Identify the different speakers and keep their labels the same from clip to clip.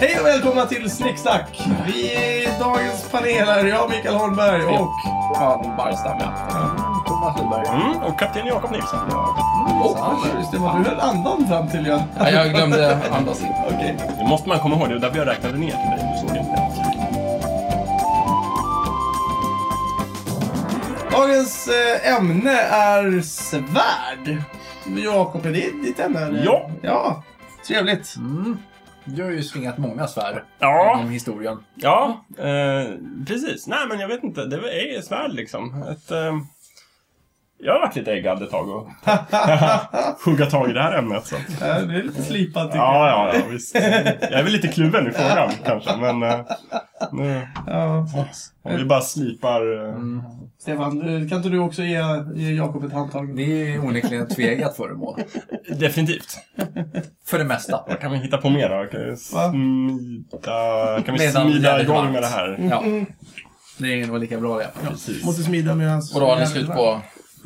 Speaker 1: Hej och välkomna till Snicksnack! Vi är dagens panel här. Jag, Mikael Holmberg och Fan Barstam. ja.
Speaker 2: Thomas Lundberg.
Speaker 3: Mm, och kapten Jakob Nilsson.
Speaker 1: Och just det, var du höll andan fram till jag...
Speaker 4: Ja, jag glömde andas in.
Speaker 1: Okej.
Speaker 3: Det måste man komma ihåg, det var därför jag räknade ner till dig. Du såg inte.
Speaker 1: Dagens eh, ämne är svärd. Jakob, är det ditt ämne? eller?
Speaker 3: Ja.
Speaker 1: Ja, trevligt.
Speaker 2: Mm. Du har ju svingat många svärd
Speaker 3: Ja,
Speaker 2: genom historien.
Speaker 3: ja eh, precis. Nej, men jag vet inte. Det är ett svärd liksom. Ett, eh, jag har varit lite äggad ett tag och hugga tag i det här ämnet. Så.
Speaker 1: Eh, Det är lite slipat tycker
Speaker 3: Ja, ja, ja, visst. Jag är väl lite kluven i frågan kanske, men eh, nu,
Speaker 1: jag. Ja.
Speaker 3: om vi bara slipar... Eh,
Speaker 2: Mm.
Speaker 1: Stefan, eh, kan inte du också ge, ge Jakob ett handtag?
Speaker 2: Det är ju onekligen ett tveeggat föremål.
Speaker 3: definitivt.
Speaker 2: För det mesta.
Speaker 3: Vad kan vi hitta på mer då? Kan vi
Speaker 1: Va?
Speaker 3: smida, kan vi
Speaker 2: Medan
Speaker 3: smida
Speaker 2: Lennart
Speaker 3: igång
Speaker 2: Mats.
Speaker 3: med det här?
Speaker 2: Ja. Det är nog lika bra det.
Speaker 3: Precis.
Speaker 1: Måste smida med hans...
Speaker 4: Och då har ni slut på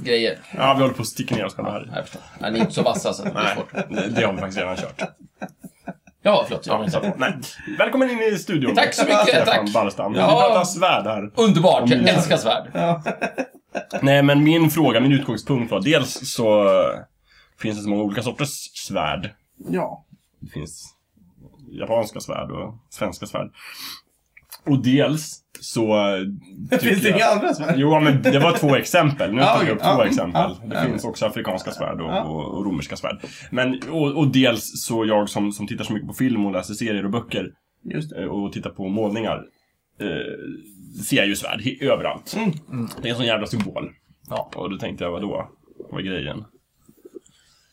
Speaker 4: grejer.
Speaker 3: Ja, vi håller på att sticka ner oss själva
Speaker 4: Ja,
Speaker 3: här.
Speaker 4: jag förstår. Ja, ni är inte så vassa så det är
Speaker 3: Nej,
Speaker 4: svårt.
Speaker 3: det har vi faktiskt redan kört.
Speaker 4: Ja, förlåt. Jag
Speaker 3: Ja,
Speaker 4: menar
Speaker 3: så
Speaker 4: inte.
Speaker 3: att, nej. Välkommen in i studion.
Speaker 4: Tack så mycket,
Speaker 3: Stefan
Speaker 4: tack.
Speaker 3: Barstam. Vi
Speaker 4: Ja.
Speaker 3: pratar svärd här.
Speaker 4: Underbart! Jag älskar svärd.
Speaker 1: Ja.
Speaker 3: Nej, men min fråga, min utgångspunkt var dels så eh, finns det så många olika sorters svärd.
Speaker 1: ja.
Speaker 3: Det finns japanska svärd och svenska svärd. Och dels så... eh, tycker
Speaker 1: Finns det
Speaker 3: jag-
Speaker 1: inga andra svärd?
Speaker 3: Jo, men det var två exempel. Nu
Speaker 1: Ja,
Speaker 3: tar
Speaker 1: okej.
Speaker 3: jag upp
Speaker 1: Ja,
Speaker 3: två
Speaker 1: mm,
Speaker 3: exempel.
Speaker 1: ja,
Speaker 3: Det
Speaker 1: ja.
Speaker 3: finns också afrikanska svärd och,
Speaker 1: Ja.
Speaker 3: och, och romerska svärd. Men, och, och dels så jag som, som tittar så mycket på film och läser serier och böcker
Speaker 1: Just det.
Speaker 3: eh, och tittar på målningar eh, ser jag ju svärd he- överallt.
Speaker 1: Mm.
Speaker 3: Det är en sån jävla symbol.
Speaker 2: Ja.
Speaker 3: Och då tänkte jag, vadå? Vad är grejen?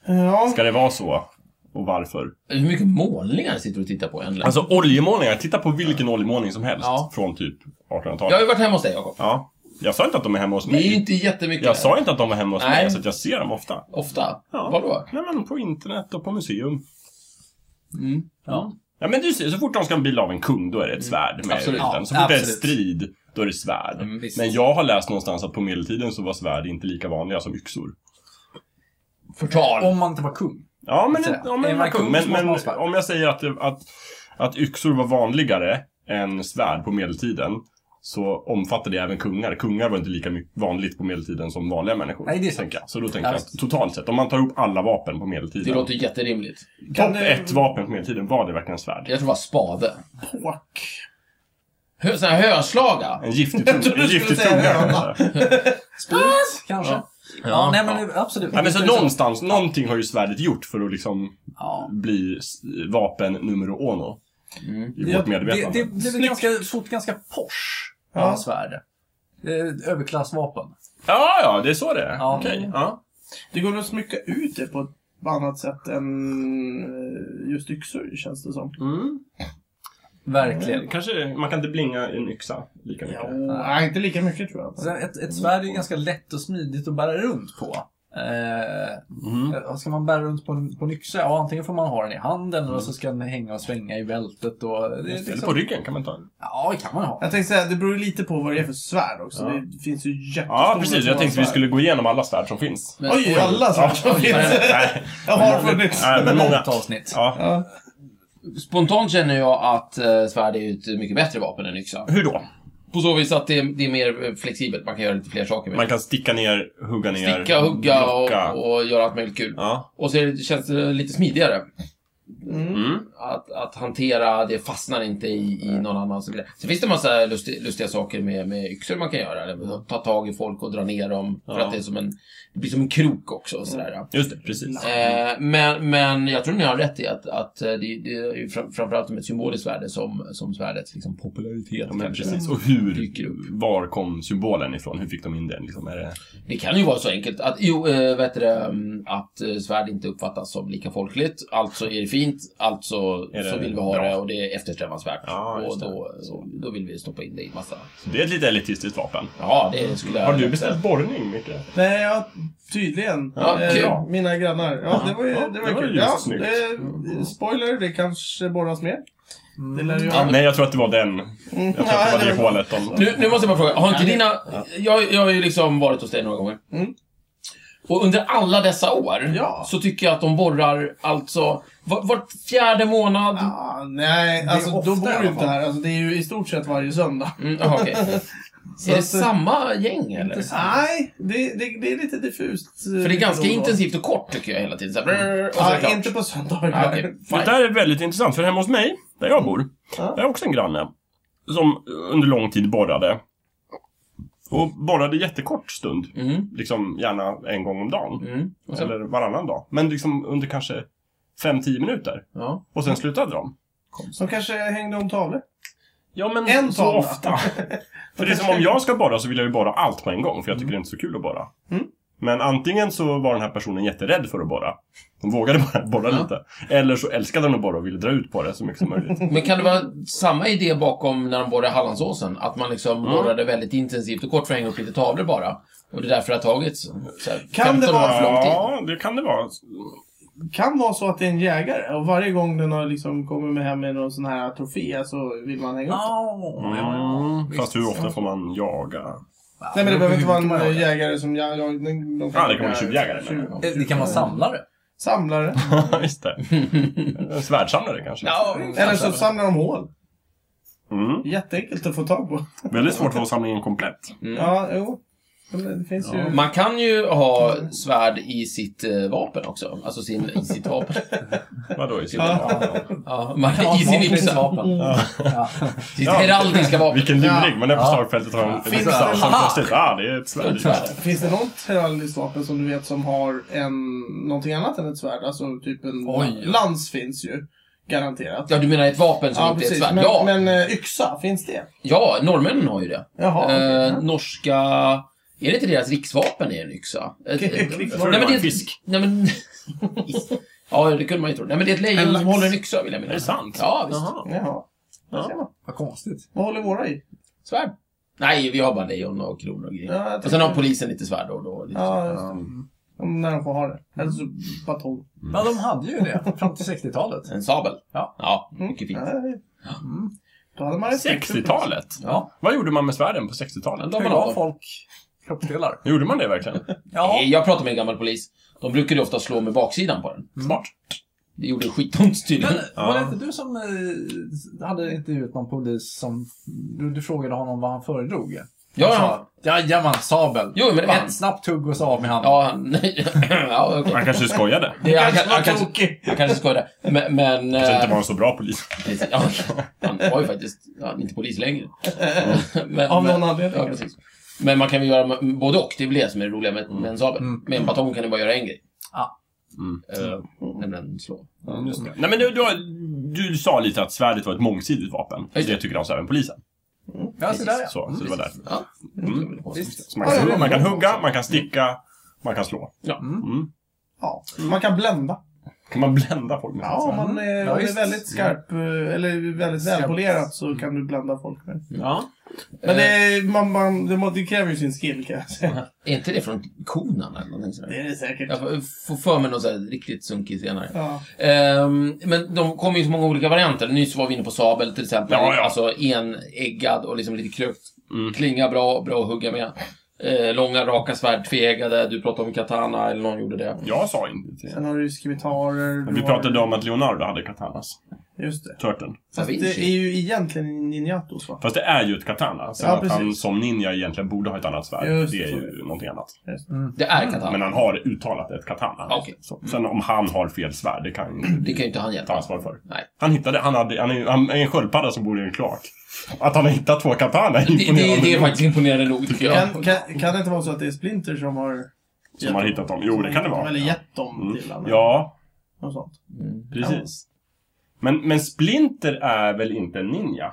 Speaker 1: Ja.
Speaker 3: Ska det vara så? Och varför?
Speaker 4: Hur mycket målningar sitter du och tittar på egentligen?
Speaker 3: Alltså oljemålningar, titta på vilken oljemålning som helst
Speaker 4: Ja.
Speaker 3: från typ
Speaker 4: Jag har
Speaker 3: 1800-talet.
Speaker 4: ju varit hemma hos dig, Jakob.
Speaker 3: Ja. Jag sa inte att de är hemma hos
Speaker 4: Det är ju
Speaker 3: mig.
Speaker 4: inte jättemycket.
Speaker 3: Jag sa inte att de var hemma hos
Speaker 4: Nej.
Speaker 3: mig, så att jag ser dem ofta.
Speaker 4: Ofta.
Speaker 3: Ja.
Speaker 4: Var då?
Speaker 3: Nej men på internet och på museum.
Speaker 1: Mm.
Speaker 2: Ja.
Speaker 3: Ja men du ser, så fort de ska ha en bild av en kung då är det ett svärd med
Speaker 4: Absolut.
Speaker 3: Absolut.
Speaker 2: Ja,
Speaker 3: Så fort det är
Speaker 2: Mm. absolut.
Speaker 3: strid, då är det svärd.
Speaker 2: Mm, visst.
Speaker 3: men jag har läst någonstans att på medeltiden så var svärd inte lika vanliga som yxor.
Speaker 4: Förtal.
Speaker 2: Om man inte var kung.
Speaker 3: Ja men,
Speaker 2: Så här,
Speaker 3: ja, men,
Speaker 2: är man kung så
Speaker 3: men,
Speaker 2: måste
Speaker 3: men
Speaker 2: man ha svärd.
Speaker 3: om jag säger att, det- att, att yxor var vanligare än svärd på medeltiden så omfattade det även kungar. Kungar var inte lika my- vanligt på medeltiden som vanliga människor.
Speaker 2: Nej, det är sant.
Speaker 3: tänker jag. Så då tänker
Speaker 2: Ja,
Speaker 3: jag
Speaker 2: visst.
Speaker 3: att totalt sett, om man tar ihop alla vapen på
Speaker 4: Det
Speaker 3: medeltiden.
Speaker 4: låter jätterimligt.
Speaker 3: Topp
Speaker 1: du-
Speaker 3: ett vapen på medeltiden, var det verkligen svärd?
Speaker 4: Jag tror det var spade.
Speaker 1: Påk.
Speaker 4: Hö, sån här höslaga.
Speaker 3: En giftig tunga,
Speaker 1: trodde
Speaker 3: en
Speaker 1: du
Speaker 3: giftig
Speaker 1: skulle säga
Speaker 3: tunga
Speaker 1: det.
Speaker 3: kanske.
Speaker 2: Sprit, kanske. Ja,
Speaker 3: Ja,
Speaker 2: nej men absolut.
Speaker 3: Nej, men så
Speaker 2: Det är så.
Speaker 3: någonstans, någonting har ju svärdet gjort för att liksom
Speaker 2: Ja.
Speaker 3: bli s- vapen numero uno.
Speaker 4: Mm.
Speaker 3: I
Speaker 2: Ja,
Speaker 3: vårt
Speaker 2: Det,
Speaker 3: medvetande.
Speaker 2: det, det blev ganska, fort ganska posh.
Speaker 1: Ja.
Speaker 2: Ja. Svärd. Eh, Överklassvapen.
Speaker 3: Ja, ja, det är så det är.
Speaker 2: Ja.
Speaker 3: Okej. Ja.
Speaker 1: Det går att smycka ut det på ett annat sätt än eh, just yxor känns det som.
Speaker 3: Mm.
Speaker 2: Verkligen.
Speaker 3: Kanske, man kan inte blinga en yxa lika mycket.
Speaker 1: Ja, nej, inte lika mycket tror jag.
Speaker 2: Sen, ett, ett svärd är ganska lätt och smidigt att bära runt på. Eh,
Speaker 3: Mm.
Speaker 2: Eh, Ska man bära runt på en, på en yxa? Ja, antingen får man ha den i handen eller så ska den hänga och svänga i bältet. Och, det, är
Speaker 3: Eller
Speaker 2: liksom-
Speaker 3: på ryggen kan man ta en.
Speaker 2: Ja, det kan man ha.
Speaker 1: Jag tänkte säga, det beror ju lite på vad det är för svärd också.
Speaker 3: Ja.
Speaker 1: Det finns ju jättestora
Speaker 3: Ja, precis. Jag
Speaker 1: sådana
Speaker 3: tänkte vi
Speaker 1: svärd.
Speaker 3: skulle gå igenom alla svärd som finns.
Speaker 4: Men-
Speaker 1: Oj, alla svärd som
Speaker 3: Ja.
Speaker 1: finns.
Speaker 3: Nej,
Speaker 1: Jag har funnits.
Speaker 3: nej, men många.
Speaker 2: Ett avsnitt.
Speaker 3: Ja.
Speaker 1: Ja.
Speaker 4: Spontant känner jag att eh, svärd är ju ett mycket bättre vapen än yxa.
Speaker 3: Hur då?
Speaker 4: På så vis att det är, det är mer eh, flexibelt. Man kan göra lite fler saker med
Speaker 3: Man kan sticka ner, hugga
Speaker 4: det.
Speaker 3: ner,
Speaker 4: Sticka, hugga
Speaker 3: blocka.
Speaker 4: och, och göra allt möjligt kul.
Speaker 3: Ja.
Speaker 4: Och så är det, känns det lite smidigare.
Speaker 1: Mm.
Speaker 3: Mm.
Speaker 4: Att, att hantera, det fastnar inte i, i någon annans grej. Sen finns det en massa lustiga, lustiga saker med, med yxor man kan göra. Eller ta tag i folk och dra ner dem. För
Speaker 3: Ja.
Speaker 4: att det, är som en, det blir som en krok också. Och sådär.
Speaker 3: Just det, precis.
Speaker 4: Eh, men, men jag tror ni har rätt i att, att eh, det, det är ju fram, framförallt som ett symboliskt värde som, som svärdets liksom, popularitet
Speaker 3: Ja, men
Speaker 4: kanske
Speaker 3: precis. Och
Speaker 4: dyker upp.
Speaker 3: hur, var kom symbolen ifrån? Hur fick de in den? Liksom, är det...
Speaker 4: Det kan ju vara så enkelt att, jo, äh, vet du, det, mm, att eh, svärd inte uppfattas som lika folkligt. Alltså är det fint, alltså
Speaker 3: Är det
Speaker 4: så vill vi ha
Speaker 3: bra?
Speaker 4: det och det är eftersträvansvärt.
Speaker 3: Ja,
Speaker 4: och
Speaker 3: just det.
Speaker 4: då, så, då vill vi stoppa in det i massa.
Speaker 3: Det är ett lite elitistiskt vapen.
Speaker 4: Ja, det skulle jag...
Speaker 3: Har du beställt borrning, Micke?
Speaker 1: Nej, ja, tydligen.
Speaker 4: Ja,
Speaker 1: Eh,
Speaker 4: kul.
Speaker 1: Mina grannar. Ja, det var ju,
Speaker 3: Ja,
Speaker 1: det var
Speaker 3: det var
Speaker 1: kul.
Speaker 3: ju
Speaker 1: Ja,
Speaker 3: snyggt.
Speaker 1: det, spoiler, det kanske borras mer.
Speaker 2: Mm.
Speaker 1: Det lär ju
Speaker 4: Ja, men-
Speaker 3: Nej, jag tror att det var den. Jag tror att det var det
Speaker 1: Mm.
Speaker 3: hålet de...
Speaker 4: Nu, nu måste jag bara fråga, har inte dina... Jag, jag har ju liksom varit hos dig några gånger.
Speaker 1: Mm.
Speaker 4: Och under alla dessa år
Speaker 1: Ja.
Speaker 4: så tycker jag att de borrar alltså var, var fjärde månad.
Speaker 1: Ah, nej, alltså
Speaker 2: ofta
Speaker 1: då
Speaker 2: i alla
Speaker 1: bor du inte
Speaker 2: fall.
Speaker 1: här. Alltså, det är ju i stort sett varje söndag.
Speaker 4: Mm, aha, okej.
Speaker 1: Så
Speaker 4: är det
Speaker 1: att- eh,
Speaker 4: samma gäng eller?
Speaker 1: Nej, det, det, det är lite diffust.
Speaker 4: För det är ganska intensivt och kort tycker jag hela tiden. Så här, brrr, och så är det
Speaker 1: Ja,
Speaker 4: klart.
Speaker 1: inte på söndagar.
Speaker 4: Ah, okej,
Speaker 3: Det
Speaker 4: fine.
Speaker 3: där är väldigt intressant, för hemma hos mig, där jag bor,
Speaker 1: Ja.
Speaker 3: där är också en granne. Som under lång tid borrade. Och borrade jättekort stund.
Speaker 4: Mm,
Speaker 3: Liksom gärna en gång om dagen.
Speaker 4: mm. Och så,
Speaker 3: Eller varannan dag. Men liksom under kanske 5-10 minuter.
Speaker 4: ja.
Speaker 3: Och sen slutade de.
Speaker 1: Som kanske hängde om tavlor.
Speaker 3: Ja, men
Speaker 1: En
Speaker 3: så
Speaker 1: tavla.
Speaker 3: ofta. för det är som om jag ska borra så vill jag ju borra allt på en gång. För jag tycker det är inte så kul att borra.
Speaker 1: Mm.
Speaker 3: Men antingen så var den här personen jätterädd för att borra. Hon vågade bara borra
Speaker 4: Ja.
Speaker 3: lite. Eller så älskade hon att borra och ville dra ut på det så mycket som möjligt.
Speaker 4: Men kan det vara samma idé bakom när de borrade Hallandsåsen? Att man liksom borrade väldigt intensivt och kort för att hänga upp lite tavlor bara. Och det är därför det har tagit så här,
Speaker 1: Kan det
Speaker 4: 15 år
Speaker 1: vara-
Speaker 4: för lång tid.
Speaker 3: Ja, det kan det vara.
Speaker 1: Kan vara så att det är en jägare och varje gång den har liksom kommit med hem med någon sån här trofé så vill man hänga upp den.
Speaker 2: Oh,
Speaker 3: Mm. Fast hur ofta
Speaker 2: Ja.
Speaker 3: får man jaga?
Speaker 1: Nej men det behöver inte vara
Speaker 2: Hur mycket
Speaker 1: en
Speaker 2: man jagar.
Speaker 1: jägare som jag... jag de, de
Speaker 3: Ja, det kan vara en tjuvjägare, Mm.
Speaker 1: Tjuv-
Speaker 2: Eh, Det kan vara samlare.
Speaker 1: Samlare.
Speaker 3: Just det. En svärdsamlare kanske?
Speaker 4: Ja,
Speaker 1: Eller så samlar de hål.
Speaker 3: Mm.
Speaker 1: Jätteenkelt att få tag på.
Speaker 3: Väldigt svårt att få samlingen komplett.
Speaker 1: Ja, jo. Men Det finns ju...
Speaker 4: Man kan ju ha svärd i sitt eh, vapen också. Alltså sin, i sitt vapen.
Speaker 3: Vadå? i sin-
Speaker 1: Ja.
Speaker 4: Ja, man, I sin yxa.
Speaker 2: Ja.
Speaker 4: Sitt
Speaker 3: Ja.
Speaker 4: heraldiska vapen.
Speaker 3: Vilken
Speaker 1: Ja.
Speaker 3: luring! Man är på slagfältet och har en en
Speaker 1: Finns
Speaker 3: yxa
Speaker 1: det-
Speaker 3: och sen plötsligt, ah, det är ett svärd.
Speaker 1: Finns det något heraldiskt vapen som du vet som har en, någonting annat än ett svärd? Alltså typ en
Speaker 2: Oj.
Speaker 1: lans finns ju. Garanterat.
Speaker 4: Ja, du menar ett vapen som
Speaker 1: Ja,
Speaker 4: inte är ett
Speaker 1: precis.
Speaker 4: svärd?
Speaker 1: Men,
Speaker 4: ja,
Speaker 1: men eh, yxa, finns det?
Speaker 4: ja, norrmännen har ju det.
Speaker 1: Jaha. okej.
Speaker 4: Eh, norska... Är det inte deras riksvapen är en yxa? Ett,
Speaker 1: Okej,
Speaker 4: ett-
Speaker 1: riksvapen.
Speaker 3: Jag tror det var
Speaker 4: det
Speaker 3: en fisk.
Speaker 4: Nej, men... ja, det kunde man ju tro. Nej, men det är ett
Speaker 1: En
Speaker 4: lejon
Speaker 1: lax.
Speaker 4: som håller en yxa, vill jag
Speaker 3: Är
Speaker 4: minnas.
Speaker 3: det sant?
Speaker 4: Ja, visst.
Speaker 3: Jaha.
Speaker 1: Jaha. Där
Speaker 3: Ja.
Speaker 1: ser man.
Speaker 2: Vad konstigt.
Speaker 1: Vad håller våra i?
Speaker 4: Svärd. Nej, vi har bara lejon och kronor och grejer.
Speaker 1: Ja, jag
Speaker 4: Och sen har
Speaker 1: tänkte-
Speaker 4: polisen lite svärd och då. Lite
Speaker 1: Ja, just det. Om När de får ha det. Eller så batong.
Speaker 2: Ja, de hade ju det fram till 60-talet.
Speaker 4: En sabel.
Speaker 2: Ja.
Speaker 4: ja
Speaker 1: Mm.
Speaker 4: mycket fint.
Speaker 1: Ja, det- Då hade man respekt för-
Speaker 3: 60-talet?
Speaker 2: Ja.
Speaker 3: Vad gjorde man med svärden på 60-talet?
Speaker 4: Då
Speaker 2: Hur
Speaker 4: man av
Speaker 2: var
Speaker 4: dem.
Speaker 2: folk kroppsdelar?
Speaker 3: Gjorde man det verkligen?
Speaker 2: Ja.
Speaker 4: Nej, Eh, jag pratade med en gammal polis. De brukade ju ofta slå med baksidan på den.
Speaker 3: Smart.
Speaker 4: Det gjorde skitont tydligen.
Speaker 2: Men var det inte du som eh, hade intervjuat någon polis som... Du, du frågade honom vad han föredrog?
Speaker 4: Ja,
Speaker 2: Han sa,
Speaker 4: ja.
Speaker 2: Jajamän, sabel.
Speaker 4: Jo, men det var han.
Speaker 2: Ett snabbt hugg och så av med handen.
Speaker 4: Ja, han... nej, ja, okej.
Speaker 3: Man kanske skojade.
Speaker 4: Det- Han
Speaker 1: Kanske
Speaker 4: kan- han
Speaker 1: var
Speaker 4: kanske-
Speaker 1: tokig.
Speaker 4: han kanske skojade. Men... men
Speaker 3: Kanske
Speaker 4: eh,
Speaker 3: inte var en så bra polis.
Speaker 4: precis. Ja, han var ju faktiskt ja, inte polis längre. Men,
Speaker 1: Av
Speaker 4: men-
Speaker 1: någon anledning.
Speaker 4: Ja, precis. Men man kan väl göra både och. Det är väl det som är det roliga med, med en sabel. Med en batong kan du bara göra en grej.
Speaker 2: Ja.
Speaker 3: Mm.
Speaker 4: Eh, Nämligen slå.
Speaker 3: Nej men du, du, har- du sa lite att svärdet var ett mångsidigt vapen.
Speaker 4: Just det.
Speaker 3: Det tycker alltså även polisen.
Speaker 2: Ja, så där ja.
Speaker 3: Så, så det var därför.
Speaker 4: Ja.
Speaker 3: Mm.
Speaker 2: Visst.
Speaker 3: Så man, kan, man kan hugga, man kan sticka, man kan slå.
Speaker 4: Ja.
Speaker 3: Mm.
Speaker 1: Ja, man kan blända.
Speaker 3: Kan man blända folk med
Speaker 1: Ja, om
Speaker 3: sitt svärd?
Speaker 1: man
Speaker 4: Mm.
Speaker 1: är,
Speaker 2: Ja,
Speaker 1: om det är
Speaker 2: visst.
Speaker 1: väldigt skarp eh, eller väldigt
Speaker 2: Skarp.
Speaker 1: välpolerat så kan du blända folk med.
Speaker 2: ja.
Speaker 1: Men det,
Speaker 3: Eh.
Speaker 1: är- man, man, det, må- det kräver ju sin skill kan jag säga.
Speaker 4: Är inte det från konan eller någonting sådär?
Speaker 1: Det är det säkert.
Speaker 4: Jag får för mig något så här riktigt sunkigt senare.
Speaker 1: Ja.
Speaker 4: Ehm, men de kommer ju så många olika varianter. Nyss var vi inne på sabel till exempel.
Speaker 3: Ja, ja.
Speaker 4: Alltså enäggad och liksom lite krökt.
Speaker 3: Mm.
Speaker 4: Klinga bra, bra att hugga med. Eh, långa raka svärd, tveeggade. Du pratade om katana, eller någon gjorde det.
Speaker 3: Jag sa inte det.
Speaker 1: Sen har du ju skivitarer. du
Speaker 3: Vi
Speaker 1: har-
Speaker 3: pratade om att Leonardo hade katanas.
Speaker 1: Just det.
Speaker 3: Turtlen.
Speaker 1: Fast det är ju egentligen ninjatos va?
Speaker 3: Fast det är ju ett katana. Sen
Speaker 1: Ja,
Speaker 3: att han
Speaker 1: precis.
Speaker 3: som ninja egentligen borde ha ett annat svärd,
Speaker 1: Just
Speaker 3: det är
Speaker 1: så.
Speaker 3: ju någonting annat. Mm.
Speaker 4: Det är katana.
Speaker 3: Men han har uttalat ett katana.
Speaker 4: Okej.
Speaker 3: Så, sen om han har fel svärd, det kan ju
Speaker 4: Det kan ju inte han
Speaker 3: ta
Speaker 4: hjälpa.
Speaker 3: ansvar för.
Speaker 4: Nej.
Speaker 3: Han hittade, han, hade, han, är, han är en sköldpadda som bor i en kloak. Att han har hittat två katana är
Speaker 4: Det, det, det är
Speaker 3: imponerande.
Speaker 4: faktiskt imponerande nog, tycker jag.
Speaker 1: Kan, kan, kan det inte vara så att det är Splinter som har...
Speaker 3: Som har hittat dem. Jo, det kan det vara.
Speaker 1: Eller gett dem
Speaker 3: Mm.
Speaker 1: till honom.
Speaker 3: Ja,
Speaker 1: Något sånt.
Speaker 3: precis. Men, men Splinter är väl inte en ninja?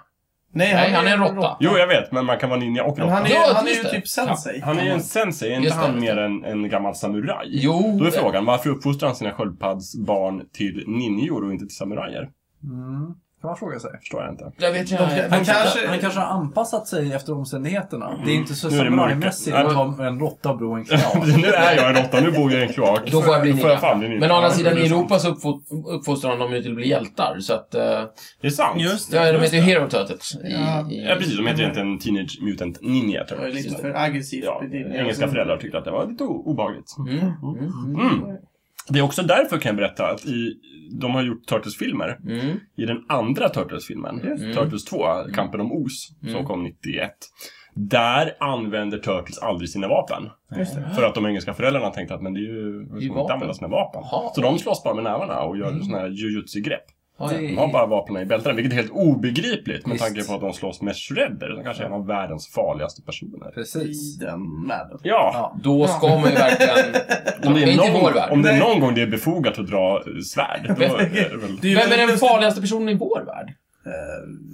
Speaker 4: Nej, han är en råtta.
Speaker 3: Jo, jag vet, men man kan vara ninja och
Speaker 1: Men han
Speaker 3: råtta.
Speaker 1: är,
Speaker 4: Ja,
Speaker 1: han är ju
Speaker 4: just det.
Speaker 1: typ sensei.
Speaker 3: Han är ju en sensei, är inte
Speaker 4: Just det,
Speaker 3: han
Speaker 4: just
Speaker 3: mer en, en gammal samuraj?
Speaker 4: Jo.
Speaker 3: Då är frågan, varför uppfostrar han sina sköldpaddsbarn till ninjor och inte till samurajer?
Speaker 2: Mm. Kan man fråga sig.
Speaker 3: Förstår jag inte.
Speaker 4: Jag vet inte.
Speaker 2: Han
Speaker 1: Han
Speaker 2: kanske,
Speaker 1: kanske-
Speaker 2: han kanske har anpassat sig efter omständigheterna. Det är inte så
Speaker 3: Nu är det mörker.
Speaker 2: samurajmässigt att ha en råtta och bro en kran.
Speaker 3: nu är jag en råtta, nu bor jag i en kloak.
Speaker 4: Då får jag bli
Speaker 3: Då får jag
Speaker 4: ninja.
Speaker 3: fan bli ninja.
Speaker 4: Men å andra
Speaker 3: Ja,
Speaker 4: sidan,
Speaker 3: det
Speaker 4: i
Speaker 3: är sant.
Speaker 4: Europa så uppfo- uppfostrar de ju till att bli hjältar. Så att... eh,
Speaker 3: Det är sant.
Speaker 4: Ja, de heter ju Hero Turtles. I,
Speaker 1: Ja.
Speaker 4: i,
Speaker 3: Ja, precis. De heter egentligen Teenage Mutant Ninja
Speaker 1: Det var ju
Speaker 3: Turtles.
Speaker 1: lite för aggressivt.
Speaker 3: Ja,
Speaker 1: beteende.
Speaker 3: engelska föräldrar tyckte att det var lite o- obehagligt.
Speaker 4: Mm. Mm.
Speaker 3: Mm. Det är också därför kan jag berätta att i, de har gjort Turtles-filmer.
Speaker 4: Mm.
Speaker 3: I den andra Turtles-filmen,
Speaker 1: Mm.
Speaker 3: Turtles 2, Kampen om Os,
Speaker 4: Mm.
Speaker 3: som kom 91. Där använder Turtles aldrig sina vapen. För att de engelska föräldrarna tänkte att men det är ju, vi ska
Speaker 4: vapen.
Speaker 3: inte använda sina vapen.
Speaker 4: Jaha. Mm.
Speaker 3: Så de slåss bara med nävarna och gör såna här jujutsu-grepp.
Speaker 4: Ja,
Speaker 2: Det-
Speaker 3: De har bara vapnen i bältena, vilket är helt obegripligt med
Speaker 4: Visst.
Speaker 3: tanke på att de slåss med Shredder, som kanske är en av världens farligaste personer.
Speaker 2: Precis.
Speaker 1: Den med.
Speaker 3: Ja,
Speaker 2: Ja.
Speaker 4: Då ska man ju verkligen...
Speaker 3: om det,
Speaker 4: inte
Speaker 3: är
Speaker 4: i vår
Speaker 3: någon,
Speaker 4: värld.
Speaker 3: om det är
Speaker 1: Nej.
Speaker 3: någon gång det är befogat att dra eh, svärd, då är det väl...
Speaker 1: Det
Speaker 4: Vem är
Speaker 1: väl-
Speaker 4: den farligaste personen i vår värld?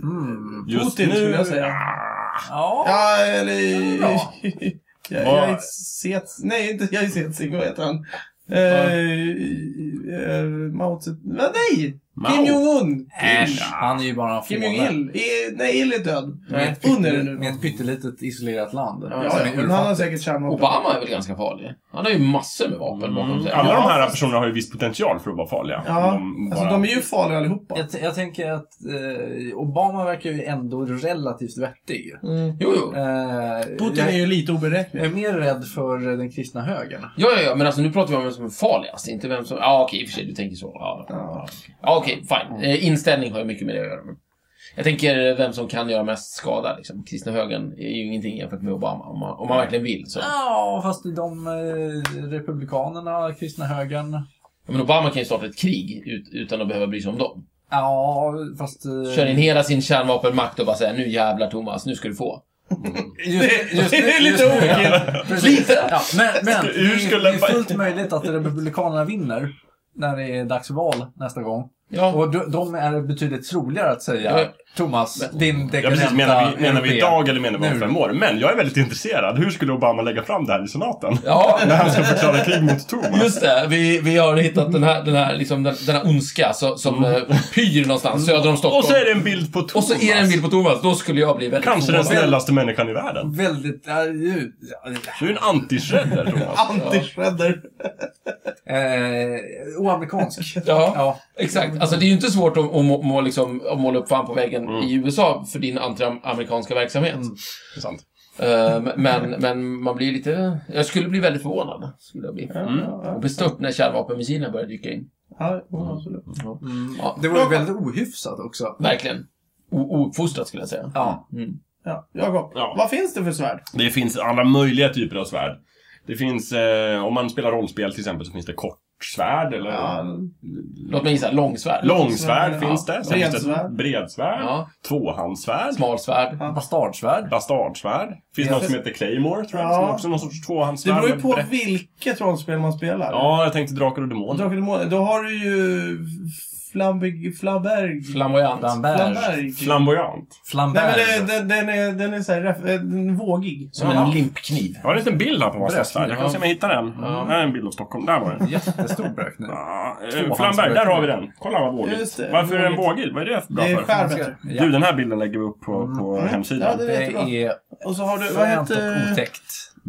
Speaker 2: Mm.
Speaker 3: Just
Speaker 1: Putin, skulle
Speaker 3: nu...
Speaker 1: jag säga.
Speaker 2: Ja.
Speaker 1: Ja, eller...
Speaker 2: Ja.
Speaker 1: jag, jag är set... Nej, inte jag är Setsing. Vad heter han? Eh, eh, Mao Tse... Va, Nej! Kim
Speaker 3: Mao.
Speaker 1: Jong-Un!
Speaker 2: Äsch. Han är ju bara en
Speaker 1: Kim
Speaker 2: fåne.
Speaker 1: Jong-Il. Eh, Nej, Il är död.
Speaker 2: Med ett,
Speaker 1: Un är det
Speaker 2: pytte,
Speaker 1: nu.
Speaker 2: med ett pyttelitet isolerat land.
Speaker 1: Ja,
Speaker 2: Som
Speaker 1: ja,
Speaker 2: är
Speaker 1: men han har
Speaker 2: urfattigt.
Speaker 1: säkert kärnvapen.
Speaker 4: Obama är väl ganska farlig? Han har ju massor med vapen bakom sig.
Speaker 3: Mm. Alla
Speaker 1: Ja,
Speaker 3: de här
Speaker 1: fast-
Speaker 3: personerna har ju viss potential för att vara farliga.
Speaker 1: Ja,
Speaker 3: de Mm, bara...
Speaker 1: Alltså, de är ju farliga allihopa.
Speaker 2: jag, t- jag tänker att eh, Obama verkar ju ändå relativt vettig.
Speaker 1: Mm.
Speaker 4: Jo, jo.
Speaker 2: Eh,
Speaker 1: Putin
Speaker 2: jag,
Speaker 1: är ju lite
Speaker 2: jag
Speaker 1: oberäknelig.
Speaker 2: är mer rädd för den kristna högern.
Speaker 4: Ja, ja, ja, men alltså nu pratar vi om vem som är farligast, inte vem som... Ja, okej, i och för sig, du tänker så. Ja,
Speaker 1: Ja.
Speaker 4: ja okej,
Speaker 3: Mm.
Speaker 4: fine. Eh, inställning har ju mycket med det att göra. men Jag tänker vem som kan göra mest skada, liksom. Kristna högern är ju ingenting jämfört med Obama, om man, om man verkligen vill. Så.
Speaker 2: Ja, fast de eh, republikanerna, kristna högern.
Speaker 4: Men Obama kan ju starta ett krig ut, utan att behöva bry sig om dem.
Speaker 2: Ja, fast... eh,
Speaker 4: Kör in hela sin kärnvapenmakt och bara säga nu jävlar Thomas, nu ska du få.
Speaker 2: Just, just,
Speaker 1: Det är lite
Speaker 2: ogint. Precis. Ja, men men det,
Speaker 3: Hur
Speaker 2: är,
Speaker 3: skulle
Speaker 2: det är
Speaker 3: man-
Speaker 2: fullt möjligt att republikanerna vinner när det är dags för val nästa gång.
Speaker 4: Ja.
Speaker 2: Och de, de är betydligt troligare att säga
Speaker 4: Ja.
Speaker 2: Thomas,
Speaker 4: Men-
Speaker 2: din
Speaker 3: Ja, precis.
Speaker 2: dekadenta
Speaker 3: Menar vi, menar vi
Speaker 2: europé."
Speaker 3: idag eller menar vi om
Speaker 2: Nu.
Speaker 3: fem år? Men jag är väldigt intresserad. Hur skulle Obama lägga fram det här i senaten?
Speaker 4: Ja,
Speaker 3: När han ska förklara krig mot Thomas?
Speaker 4: Just det, vi, vi har hittat den här, den här, liksom, den, den här ondska så, som eh, pyr någonstans söder om Stockholm.
Speaker 3: Mm. Och så är det en bild på Thomas.
Speaker 4: Och så är det en bild på Thomas. Då skulle jag bli väldigt
Speaker 3: Kanske den
Speaker 4: förvånad.
Speaker 3: snällaste människan i världen.
Speaker 2: Väldigt... Äh, ju-
Speaker 3: Du är en anti-shredder, Thomas.
Speaker 1: Anti-shredder.
Speaker 2: eh, oamerikansk.
Speaker 4: Ja,
Speaker 2: Ja.
Speaker 4: exakt. Alltså det är ju inte svårt att, att, må, må, liksom, att måla upp fan på väggen
Speaker 3: Mm.
Speaker 4: i USA för din antiamerikanska verksamhet.
Speaker 3: Det är sant.
Speaker 4: Eh, men, men man blir lite... Jag skulle bli väldigt förvånad. Skulle jag bli. Och bestört när kärnvapenmissilerna börjar dyka in.
Speaker 1: Ja, absolut.
Speaker 2: Mm.
Speaker 4: Ja.
Speaker 2: Det var ju väldigt ohyfsat också.
Speaker 4: Verkligen. O- Ouppfostrat skulle jag säga.
Speaker 2: Ja.
Speaker 4: Mm.
Speaker 1: Ja, Jakob,
Speaker 3: Ja.
Speaker 1: vad finns det för svärd?
Speaker 3: Det finns alla möjliga typer av svärd. Det finns, eh, om man spelar rollspel till exempel, så finns det kortsvärd eller
Speaker 1: Ja,
Speaker 4: Låt mig gissa. Långsvärd.
Speaker 3: långsvärd
Speaker 1: Ja.
Speaker 3: finns det. Sen finns det
Speaker 1: Bredsvärd.
Speaker 3: bredsvärd,
Speaker 4: Ja.
Speaker 3: tvåhandsvärd,
Speaker 4: Smalsvärd.
Speaker 2: Bastardsvärd.
Speaker 3: bastardsvärd. Finns
Speaker 2: Ja.
Speaker 3: något som heter Claymore, tror jag,
Speaker 1: Ja.
Speaker 3: som också är någon sorts
Speaker 1: det
Speaker 3: tvåhandsvärd.
Speaker 1: beror ju
Speaker 3: med
Speaker 1: på
Speaker 3: brett-
Speaker 1: vilket rollspel man spelar.
Speaker 3: Ja, jag tänkte Drakar och
Speaker 1: Och
Speaker 3: Demoner.
Speaker 1: Drakar och Demoner, då har du ju Flambig, Flaberg.
Speaker 4: Flamboyant.
Speaker 2: Flambert.
Speaker 1: Flamberg.
Speaker 3: Flamboyant.
Speaker 1: Nej men
Speaker 2: Flambert.
Speaker 1: det, den, den är, den är så här, ref- eh, den är vågig.
Speaker 4: Som en
Speaker 3: Jaha.
Speaker 4: limpkniv.
Speaker 3: Jag har en liten bild här på massa svärd. Jag kan se om jag hittar den. Här är en bild av Stockholm. Där var den.
Speaker 2: Jättestor brökning.
Speaker 3: Ja, eh,
Speaker 2: Tvåhands-
Speaker 3: Flamberg, där har vi den. Kolla vad vågig.
Speaker 1: Just det,
Speaker 3: Varför är den
Speaker 1: vågigt.
Speaker 3: vågig? Vad är det för bra
Speaker 1: Det är
Speaker 3: för?
Speaker 1: skärbättre.
Speaker 2: Ja.
Speaker 3: Du, den här bilden lägger vi upp på, på hemsidan.
Speaker 1: Ja, det-
Speaker 2: Det är
Speaker 1: Och så har du, vad
Speaker 2: fränt och
Speaker 1: heter...
Speaker 2: otäckt.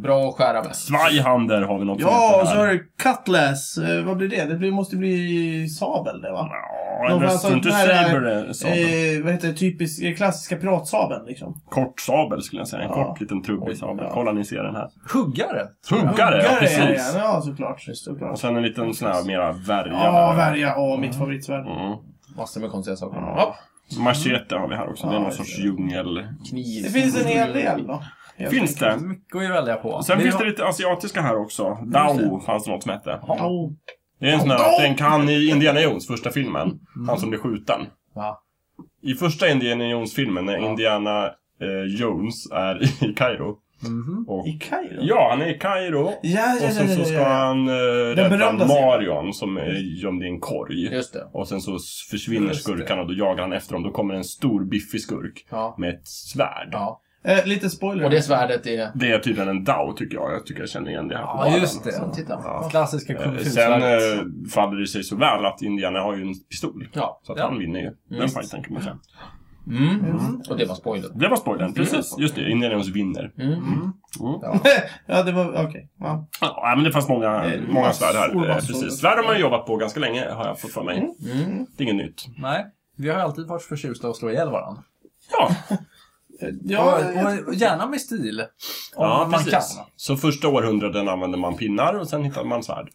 Speaker 4: Bra att skära med.
Speaker 3: Zweihander har vi något som
Speaker 1: Ja,
Speaker 3: heter
Speaker 1: och så
Speaker 3: här.
Speaker 1: har du Cutlass. Eh, Vad blir det? Det blir, måste bli sabel det va?
Speaker 3: Ja,
Speaker 1: Någon
Speaker 3: en röst,
Speaker 1: sån
Speaker 3: inte
Speaker 1: här,
Speaker 3: saber, eh, sabel.
Speaker 1: Eh, vad heter det? Typisk, eh, klassiska piratsabeln liksom.
Speaker 3: Kort sabel skulle jag säga. En
Speaker 1: ja.
Speaker 3: kort liten trubbig sabel.
Speaker 1: ja.
Speaker 3: Kolla, ni ser den här.
Speaker 2: Huggare.
Speaker 3: Huggare, ja
Speaker 1: är
Speaker 3: precis.
Speaker 1: det, Ja, såklart. såklart.
Speaker 3: Och sen en liten sån här mera värja.
Speaker 1: Ja,
Speaker 3: där.
Speaker 1: värja. Åh, mitt favoritsvärd.
Speaker 3: Mm.
Speaker 4: Massor med konstiga saker.
Speaker 3: Ja. Machete har vi här också. Det är
Speaker 1: Ja,
Speaker 3: någon
Speaker 1: det är
Speaker 3: sorts
Speaker 1: det.
Speaker 3: djungel...
Speaker 4: Kniv.
Speaker 1: Det finns en hel del då. helt
Speaker 3: Finns
Speaker 1: enkelt.
Speaker 3: det?
Speaker 2: Mycket att välja på.
Speaker 3: Sen
Speaker 2: Vi
Speaker 3: finns
Speaker 2: har-
Speaker 3: det lite asiatiska här också.
Speaker 1: Just
Speaker 3: Dao fanns det något som hette.
Speaker 1: Ja.
Speaker 3: Det är en sån här, den kan i Indiana Jones, första filmen.
Speaker 1: Mm.
Speaker 3: Han som blir skjuten.
Speaker 2: Va?
Speaker 3: I första Indiana Jones-filmen, när Indiana eh, Jones är i Kairo.
Speaker 2: Mhm.
Speaker 3: Och,
Speaker 1: I Kairo?
Speaker 3: ja, han är i Kairo.
Speaker 1: Ja, ja,
Speaker 3: Och sen
Speaker 1: ja,
Speaker 3: så
Speaker 1: ja,
Speaker 3: ska
Speaker 1: ja, ja.
Speaker 3: han eh, rädda
Speaker 1: berömda scenen.
Speaker 3: Marion som är gömd i en korg.
Speaker 4: Just det.
Speaker 3: Och sen så försvinner
Speaker 1: Just det.
Speaker 3: skurkarna och då jagar han efter dem. Då kommer en stor biffig skurk
Speaker 4: Ja.
Speaker 3: med ett svärd.
Speaker 4: Ja.
Speaker 1: Eh, lite spoiler.
Speaker 4: Och det svärdet är...
Speaker 3: Det är tydligen en Dao tycker jag. Jag tycker jag känner igen det här på
Speaker 2: Ja,
Speaker 3: bladen.
Speaker 2: just det.
Speaker 4: Så, titta.
Speaker 3: Ja.
Speaker 2: Klassiska
Speaker 3: Eh,
Speaker 2: kung
Speaker 3: Sen
Speaker 2: fu-svärdet.
Speaker 3: eh, faller det sig så väl att Indiana har ju en pistol.
Speaker 4: Ja.
Speaker 3: Så att
Speaker 2: Ja.
Speaker 3: han vinner ju den
Speaker 4: Visst.
Speaker 3: fighten kan man säga.
Speaker 4: Mm. Och det var spoilern.
Speaker 3: Det var spoilern, precis. Just det, Indiana Jones vinner.
Speaker 4: Mm.
Speaker 3: Mm.
Speaker 1: ja, det var... Okej. Ja.
Speaker 3: Ja, men det fanns många,
Speaker 1: Eh,
Speaker 3: många
Speaker 1: massor,
Speaker 3: svärd här. Eh,
Speaker 1: massor.
Speaker 3: Precis. Svärd har man ju jobbat på ganska länge, har jag fått för mig.
Speaker 4: Mm.
Speaker 3: Det är inget nytt.
Speaker 2: Nej, vi har ju alltid varit förtjusta att slå ihjäl varandra.
Speaker 3: Ja,
Speaker 1: Eh,
Speaker 2: Ja,
Speaker 1: Ja, jag-
Speaker 2: och, och gärna med stil. Om
Speaker 3: ja
Speaker 2: man
Speaker 3: precis.
Speaker 2: kan.
Speaker 3: Så första århundraden använde man pinnar och sen hittade man svärd.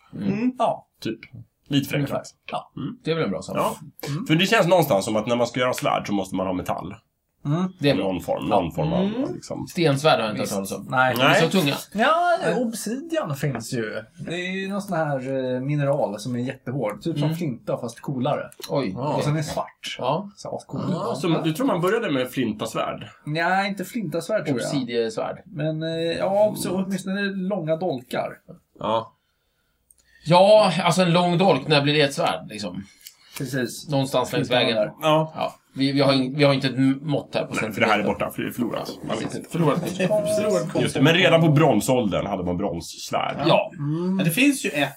Speaker 2: Ja,
Speaker 3: Typ. Lite
Speaker 2: ungefär.
Speaker 3: förenklat.
Speaker 2: Ja.
Speaker 4: Det är väl en bra samling?
Speaker 3: Ja. För det känns någonstans som att när man ska göra svärd så måste man ha metall.
Speaker 2: Mm.
Speaker 4: Det är bra.
Speaker 3: Någon form, någon form av liksom.
Speaker 4: Stensvärd har jag inte hört talas
Speaker 2: Visst.
Speaker 4: om.
Speaker 2: Nej.
Speaker 4: De
Speaker 3: Nej.
Speaker 4: är så tunga.
Speaker 2: Ja, obsidian finns ju. Det är ju någon sån här eh, mineral som är jättehård. Typ
Speaker 3: Mm.
Speaker 2: som flinta fast coolare.
Speaker 4: Oj.
Speaker 2: Och
Speaker 4: okej.
Speaker 2: sen är svart.
Speaker 4: Ja.
Speaker 2: Så ascool.
Speaker 3: Ja, så du tror man började med flinta svärd?
Speaker 2: Nej, inte flintasvärd tror jag.
Speaker 4: Obsidiesvärd.
Speaker 2: Men eh, ja, så åtminstone långa dolkar.
Speaker 3: Ja.
Speaker 4: Ja, alltså en lång dolk, när blir det ett svärd? Liksom.
Speaker 2: Precis.
Speaker 4: Någonstans längs vägen. där.
Speaker 3: Ja.
Speaker 4: Ja. Vi, vi, har in, vi har inte ett mått här på
Speaker 3: Nej, för det här är borta, för det är förlorat. Man vet inte. Förlorat.
Speaker 1: Förlåt.
Speaker 3: Just det. Men redan på bronsåldern hade man bronssvärd.
Speaker 4: Ja.
Speaker 1: Ja, Det finns ju ett,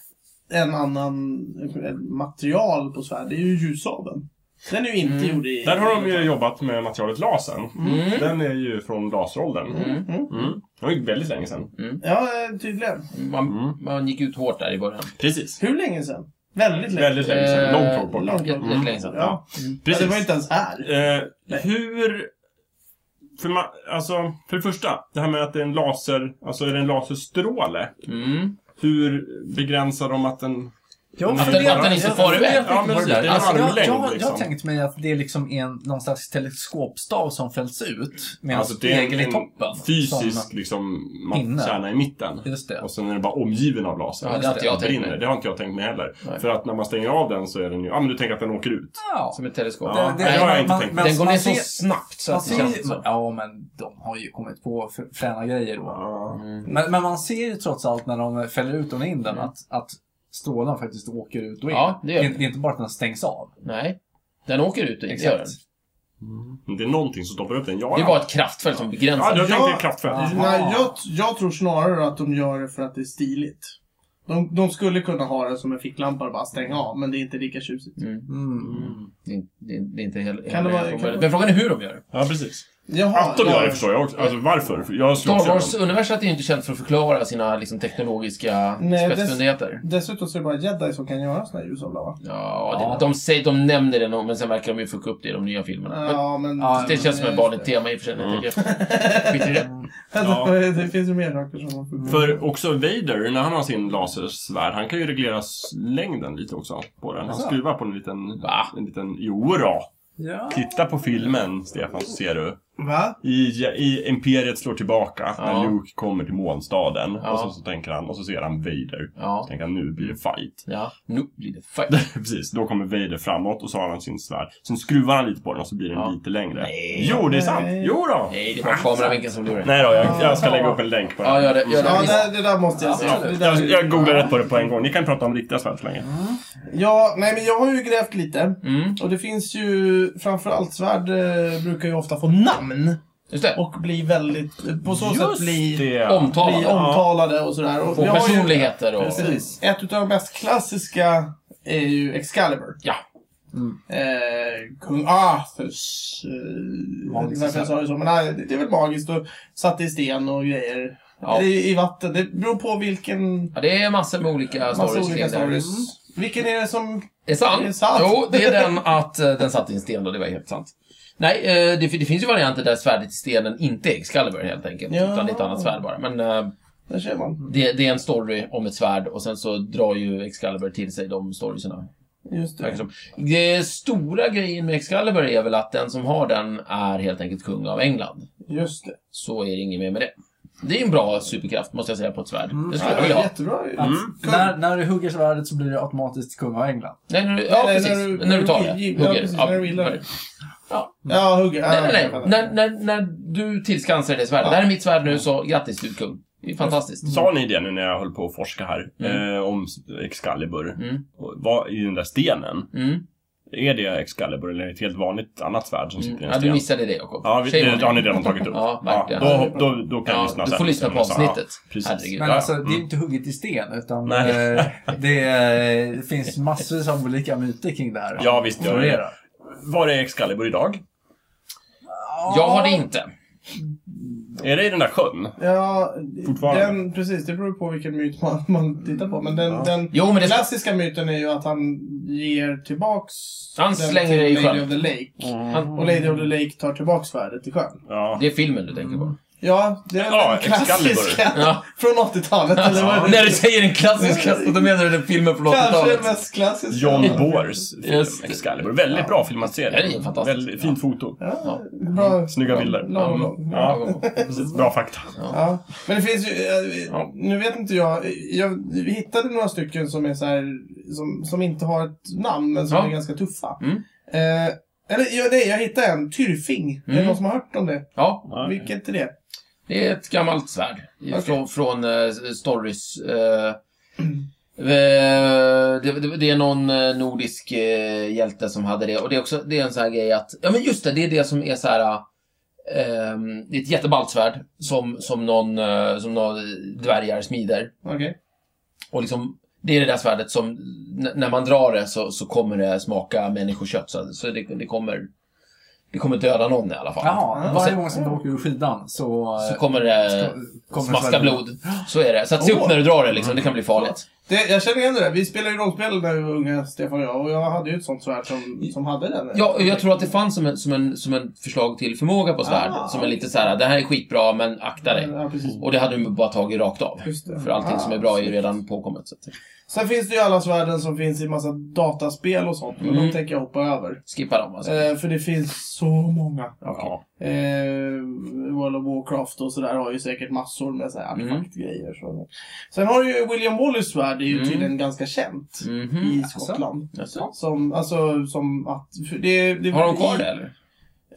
Speaker 1: en annan eh, material på svärd. Det är ju ljussabeln. Den är ju inte gjord i...
Speaker 3: Mm. Där har de ju jobbat med materialet lasern.
Speaker 4: Mm.
Speaker 3: Den är ju från laseråldern.
Speaker 4: Mm.
Speaker 3: Mm. Det var ju väldigt länge sedan.
Speaker 1: Ja, eh, tydligen.
Speaker 4: Man,
Speaker 3: Mm.
Speaker 4: man gick ut hårt där i början.
Speaker 3: Precis.
Speaker 1: Hur länge sedan? Väldigt länge.
Speaker 3: Väldigt länge sedan. Långt,
Speaker 4: Eh,
Speaker 3: långt borta.
Speaker 1: långt.
Speaker 4: Jätte- Jättelänge sedan.
Speaker 1: Ja. ja,
Speaker 3: Precis.
Speaker 1: det var ju inte ens här.
Speaker 3: Eh, hur... För, man, alltså, för det första, det här med att det är en laser... Alltså är det en laserstråle?
Speaker 4: Mm.
Speaker 2: Hur?
Speaker 3: Begränsar de att den...
Speaker 2: Jag
Speaker 3: Att den-
Speaker 2: funderar-
Speaker 3: att
Speaker 4: den inte
Speaker 2: jag-
Speaker 4: far
Speaker 2: jag
Speaker 4: iväg.
Speaker 2: vet
Speaker 3: Ja,
Speaker 2: inte
Speaker 3: men
Speaker 2: vad det där
Speaker 3: det
Speaker 2: är.
Speaker 3: är en
Speaker 2: Alltså, jag-
Speaker 3: armlängd,
Speaker 2: Jag har- jag har
Speaker 3: liksom.
Speaker 2: tänkt mig att det är liksom är en, någon slags teleskopstav som fälls ut med
Speaker 3: Alltså
Speaker 2: en
Speaker 3: det är
Speaker 2: spegel
Speaker 3: en,
Speaker 2: i
Speaker 3: en
Speaker 2: toppen.
Speaker 3: fysisk
Speaker 2: Som,
Speaker 3: liksom,
Speaker 2: pinne.
Speaker 3: ma- kärna i mitten.
Speaker 2: just det.
Speaker 3: Och sen är den bara omgiven av laser.
Speaker 4: Ja, det har inte jag
Speaker 3: Den
Speaker 4: tänkt
Speaker 3: brinner.
Speaker 4: mig.
Speaker 3: Det har inte jag tänkt mig heller.
Speaker 4: Nej.
Speaker 3: För att när man stänger av den så är den ju... Ja, men du tänker att den åker ut.
Speaker 2: Ja.
Speaker 4: Som ett teleskop.
Speaker 3: Ja,
Speaker 2: Det- det-
Speaker 3: det har jag
Speaker 2: man-
Speaker 3: inte
Speaker 2: man-
Speaker 3: tänkt.
Speaker 2: men
Speaker 4: Den går
Speaker 2: man
Speaker 4: ner så
Speaker 2: ser-
Speaker 4: snabbt så
Speaker 2: man
Speaker 4: att det känns
Speaker 2: ser,
Speaker 4: så.
Speaker 2: Ja, men de har ju kommit på fr- fräna grejer då.
Speaker 3: Ja.
Speaker 2: Men, men man ser ju trots allt när de fäller ut den och in den att, att strålen faktiskt åker ut och in.
Speaker 4: Mm. Ja, det gör
Speaker 2: det, är,
Speaker 4: den.
Speaker 2: det är inte bara att den stängs av.
Speaker 4: Nej. Den åker ut och in, det gör den.
Speaker 3: Mm. Det är någonting som stoppar upp den. Ja,
Speaker 4: Det är
Speaker 3: ja.
Speaker 4: bara ett kraftfält som
Speaker 3: Ja,
Speaker 4: begränsar.
Speaker 3: jag
Speaker 1: Ja.
Speaker 3: tänkte kraftfält.
Speaker 1: Nej, jag, jag tror snarare att de gör det för att det är stiligt. De, de skulle kunna ha den som en ficklampa och bara stänga av, men det är inte lika tjusigt.
Speaker 4: Mm. Det, är- det, är- det är inte heller...
Speaker 1: Kan det vara-
Speaker 4: heller-
Speaker 1: kan det-
Speaker 4: Men frågan är hur de gör det.
Speaker 3: Ja, precis.
Speaker 1: Jaha,
Speaker 3: Att de gör det
Speaker 1: ja.
Speaker 3: förstår jag också. Alltså varför? För Jag slog
Speaker 4: Star
Speaker 3: också igenom.
Speaker 4: Wars-universet är ju inte känt för att förklara sina liksom, teknologiska
Speaker 1: Nej, det-
Speaker 4: spetsfundigheter.
Speaker 1: Dessutom så är det bara jedi som kan göra såna här ljusablar, va?
Speaker 4: Ja,
Speaker 2: Ja.
Speaker 4: Det, de, säger, de nämner det nog, men sen verkar de ju fucka upp det i de nya filmerna. Men
Speaker 1: Ja, men...
Speaker 2: Ja,
Speaker 4: det känns som ett vanligt tema i och för sig.
Speaker 3: Mm.
Speaker 4: jag tycker. Skit i det.
Speaker 1: Alltså, Det finns ju mer saker som... man-
Speaker 3: För också Vader, när han har sin lasersvärd, han kan ju reglera s- längden lite också på den. Han
Speaker 2: Jaså?
Speaker 3: skruvar på en liten...
Speaker 4: Va?
Speaker 3: En liten... Jo då.
Speaker 2: Ja.
Speaker 3: Titta på filmen, Stefan, så ser du.
Speaker 1: Va?
Speaker 3: I, i Imperiet slår tillbaka,
Speaker 4: Ja.
Speaker 3: när Luke kommer till månstaden.
Speaker 4: Ja.
Speaker 3: Och så, så tänker han, och så ser han Vader. Så
Speaker 4: Ja.
Speaker 3: tänker han, nu blir det fight.
Speaker 4: ja. Nu blir det fight.
Speaker 3: Precis, då kommer Vader framåt och så har han sin svärd. Sen skruvar han lite på den och så blir den
Speaker 4: Ja.
Speaker 3: lite längre.
Speaker 4: Nej.
Speaker 3: Jo, det är sant!
Speaker 1: Nej.
Speaker 3: Jo då.
Speaker 4: Nej, det var kameravinkeln som gjorde det.
Speaker 3: Nej då, jag, jag ska lägga upp en länk på det.
Speaker 4: Ja, gör det. Gör det.
Speaker 1: Ja,
Speaker 4: Visst.
Speaker 1: det, det där måste jag se.
Speaker 4: Ja.
Speaker 1: Det där
Speaker 3: Jag,
Speaker 1: är-
Speaker 3: jag googlar rätt på det på en gång. Ni kan prata om riktiga svärd så länge.
Speaker 1: Ja, nej men jag har ju grävt lite.
Speaker 4: Mm.
Speaker 1: Och det finns ju, framförallt svärd eh, brukar ju ofta få namn.
Speaker 4: Just det.
Speaker 1: Och bli väldigt, på så sätt bli, bli
Speaker 3: det.
Speaker 4: Omtalande.
Speaker 1: omtalade och sådär. Och vi
Speaker 4: Och
Speaker 1: har ju-
Speaker 4: personligheter och...
Speaker 1: Precis. Ett utav de mest klassiska är ju Excalibur.
Speaker 4: Ja.
Speaker 1: Eh, Kung Arthurs. Eh, jag vet inte varför jag sa det så, men nej, det- det är väl magiskt och satt i sten och grejer.
Speaker 4: Ja.
Speaker 1: Eller I, I vatten. Det beror på vilken...
Speaker 4: ja, det är massor med olika
Speaker 1: Massa
Speaker 4: stories.
Speaker 1: olika
Speaker 4: kring det här. Mm.
Speaker 1: stories. Vilken är det som...
Speaker 4: Är sant?
Speaker 1: Det är sant.
Speaker 4: Jo, det är den att eh, den satt i en sten då, det var helt sant. Nej, eh, det, fi- det finns ju varianter där svärdet i stenen inte är Excalibur helt enkelt.
Speaker 1: Ja.
Speaker 4: Utan det är ett annat svärd bara. Men eh,
Speaker 1: Där ser man.
Speaker 4: det, det är en story om ett svärd och sen så drar ju Excalibur till sig de storiesna.
Speaker 1: Just
Speaker 4: verkar
Speaker 1: det.
Speaker 4: som. Det stora grejen med Excalibur är väl att den som har den är helt enkelt kung av England.
Speaker 1: Just det.
Speaker 4: Så är det inget mer med det. Det är en bra superkraft måste jag säga på ett svärd.
Speaker 1: Mm.
Speaker 4: Det skulle
Speaker 1: Ja,
Speaker 4: jag
Speaker 1: det var
Speaker 4: vilja ha. Mm.
Speaker 1: jättebra ju.
Speaker 3: Mm.
Speaker 1: Kung.
Speaker 2: När, när du hugger svärdet så blir du automatiskt kung av England.
Speaker 4: Nej, när du, ja,
Speaker 1: Nej,
Speaker 4: precis. När du, tar det.
Speaker 1: gi-
Speaker 4: Hugger.
Speaker 1: Ja, precis. När du gillar det.
Speaker 4: Ja.
Speaker 1: Ja, hugger. Ja,
Speaker 4: Nej, nej,
Speaker 1: ja,
Speaker 4: nej.
Speaker 1: ja.
Speaker 4: När, när, när du tillskansar dig det svärdet. Det här är mitt svärd nu, så grattis du är kung. Det är fantastiskt.
Speaker 3: Sa ni det nu när jag höll på att forska här? Eh, om Excalibur.
Speaker 4: Mm.
Speaker 3: Och Vad i den där stenen?
Speaker 4: Mm.
Speaker 3: Är det Excalibur eller ett helt vanligt annat svärd som sitter i en
Speaker 4: Ja, du
Speaker 3: sten?
Speaker 4: missade det Jakob.
Speaker 3: Ja, vi,
Speaker 4: Shame
Speaker 3: det,
Speaker 4: on
Speaker 3: det har
Speaker 4: you.
Speaker 3: ni redan tagit upp.
Speaker 4: Ja, verkligen.
Speaker 3: då, då, då kan
Speaker 4: Ja,
Speaker 3: ni lyssna
Speaker 4: du
Speaker 3: sen.
Speaker 4: får lyssna på
Speaker 3: Så, ja,
Speaker 4: avsnittet.
Speaker 3: precis.
Speaker 4: Herregud.
Speaker 3: Ja,
Speaker 2: Men
Speaker 3: ja.
Speaker 2: alltså, det är
Speaker 3: Mm.
Speaker 2: inte hugget i sten, utan
Speaker 3: Nej.
Speaker 2: eh, det eh, finns massvis av olika myter kring det här.
Speaker 3: Ja, visst,
Speaker 2: Som
Speaker 3: jag är det.
Speaker 2: florerar.
Speaker 3: Var är Excalibur idag?
Speaker 4: Jag har det inte.
Speaker 3: Är det i den där sjön?
Speaker 1: Ja,
Speaker 3: Fortfarande.
Speaker 1: den, precis. Det beror på vilken myt man, man tittar på. Men den,
Speaker 3: Ja.
Speaker 1: den
Speaker 4: Jo, men det-
Speaker 1: klassiska myten är ju att han ger tillbaks
Speaker 4: Han
Speaker 1: den
Speaker 4: slänger
Speaker 1: till
Speaker 4: det i
Speaker 1: Lady
Speaker 4: sjön. Mm.
Speaker 1: of the Lake.
Speaker 4: Han,
Speaker 1: Och Lady of the Lake tar tillbaks svärdet i sjön.
Speaker 3: Ja.
Speaker 4: det är filmen du tänker på.
Speaker 1: Ja, det är
Speaker 3: Ja,
Speaker 1: den klassiska.
Speaker 3: Excalibur.
Speaker 4: Ja.
Speaker 1: Från 80-talet, eller vad är det?
Speaker 4: När du säger den klassiska, så då menar du den filmen från
Speaker 1: Kanske
Speaker 4: 80-talet.
Speaker 1: den mest klassiska.
Speaker 3: John Boers film
Speaker 4: Just det.
Speaker 3: Excalibur. Väldigt bra filmatisering.
Speaker 4: Ja, det är fantastiskt.
Speaker 3: Väldigt fint foto.
Speaker 1: Ja,
Speaker 4: Mm.
Speaker 1: bra.
Speaker 3: Snygga bilder.
Speaker 1: Lagom lång.
Speaker 3: Ja, precis. Bra fakta.
Speaker 1: Ja, men det finns ju, eh,
Speaker 4: Ja.
Speaker 1: nu vet inte jag, jag hittade några stycken som är så här, som, som inte har ett namn men som
Speaker 4: Ja.
Speaker 1: är ganska tuffa.
Speaker 4: Mm.
Speaker 1: Eh, eller ja, nej, jag hittade en, Tyrfing. Är det
Speaker 4: Mm.
Speaker 1: någon som har hört om det?
Speaker 4: Ja,
Speaker 3: Ja.
Speaker 1: Vilket är det?
Speaker 4: det är ett gammalt svärd.
Speaker 1: Okej.
Speaker 4: Från, från eh, stories. eh, eh, det, det, det är någon eh, nordisk eh, hjälte som hade det. Och det är också det är en sån här grej att, ja men just det, det är det som är så här. eh, det är ett jätteballt svärd som, som, någon, eh, som någon dvärgar smider.
Speaker 1: Okej.
Speaker 4: Och liksom, det är det där svärdet som, n- när man drar det så, så kommer det smaka människokött. Så, så det, det kommer det kommer döda någon i alla fall.
Speaker 2: Jaha,
Speaker 4: Och
Speaker 2: varje
Speaker 4: sen-
Speaker 2: gång som du åker ur skidan så... eh,
Speaker 4: Så kommer det
Speaker 2: ska- kommer
Speaker 4: smaska
Speaker 2: svärdet-
Speaker 4: blod. Så är det. Så att se upp när du drar det liksom, det kan bli farligt.
Speaker 1: Det, jag känner igen det där. Vi spelade ju rollspel när vi var unga, Stefan och jag. Och jag hade ju ett sånt svärd som, som hade den.
Speaker 4: Ja, och jag tror att det fanns som en, som en, som en förslag till förmåga på svärd.
Speaker 1: Ah.
Speaker 4: som är lite så här: det här är skitbra men akta dig.
Speaker 1: Ja, precis.
Speaker 4: Och det hade du bara tagit rakt av.
Speaker 1: Just det.
Speaker 4: För allting
Speaker 1: Ah,
Speaker 4: som är bra är ju redan påkommet. Så att
Speaker 1: Sen finns det ju alla svärden som finns i massa dataspel och sånt. Men de
Speaker 4: Mm.
Speaker 1: tänker jag hoppa över.
Speaker 4: skippa dem alltså.
Speaker 1: Eh, för det finns så många.
Speaker 3: Ja.
Speaker 1: Eh, World of Warcraft och sådär har ju säkert massor med så här
Speaker 4: Mm.
Speaker 1: artefaktgrejer. Så. Sen har ju William Wallace svärd, är ju
Speaker 4: Mm.
Speaker 1: tydligen ganska känt
Speaker 4: Mhm.
Speaker 1: i Skottland.
Speaker 4: Jaså?
Speaker 1: Som, alltså, som att... för Det, det,
Speaker 4: Har de kvar det eller?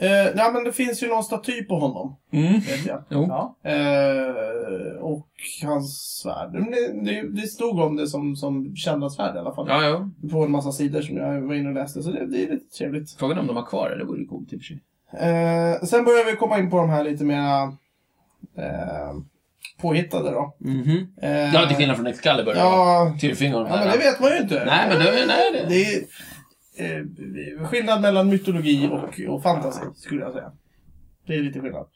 Speaker 1: Eh, nej, men det finns ju någon staty på honom,
Speaker 4: Mm.
Speaker 1: vet jag.
Speaker 4: Jo.
Speaker 2: Ja.
Speaker 1: Eh, och hans svärd. Men Det, det, det stod om det som, som kända svärd i alla fall.
Speaker 4: Ja, jo.
Speaker 1: På en massa sidor som jag var inne och läste, så det, det är lite trevligt.
Speaker 4: Frågan är om de har kvar det, det vore ju coolt i och för sig.
Speaker 1: Eh, sen börjar vi komma in på de här lite mera eh, påhittade då. Eh,
Speaker 4: Ja, till skillnad från Excalibur.
Speaker 1: Ja,
Speaker 4: Tyrfing och de
Speaker 1: ja
Speaker 4: här.
Speaker 1: men det vet man ju inte.
Speaker 4: Nej, men det, nej, det.
Speaker 1: Det är eh, skillnad mellan mytologi och, och fantasy, skulle jag säga. Det är lite skillnad.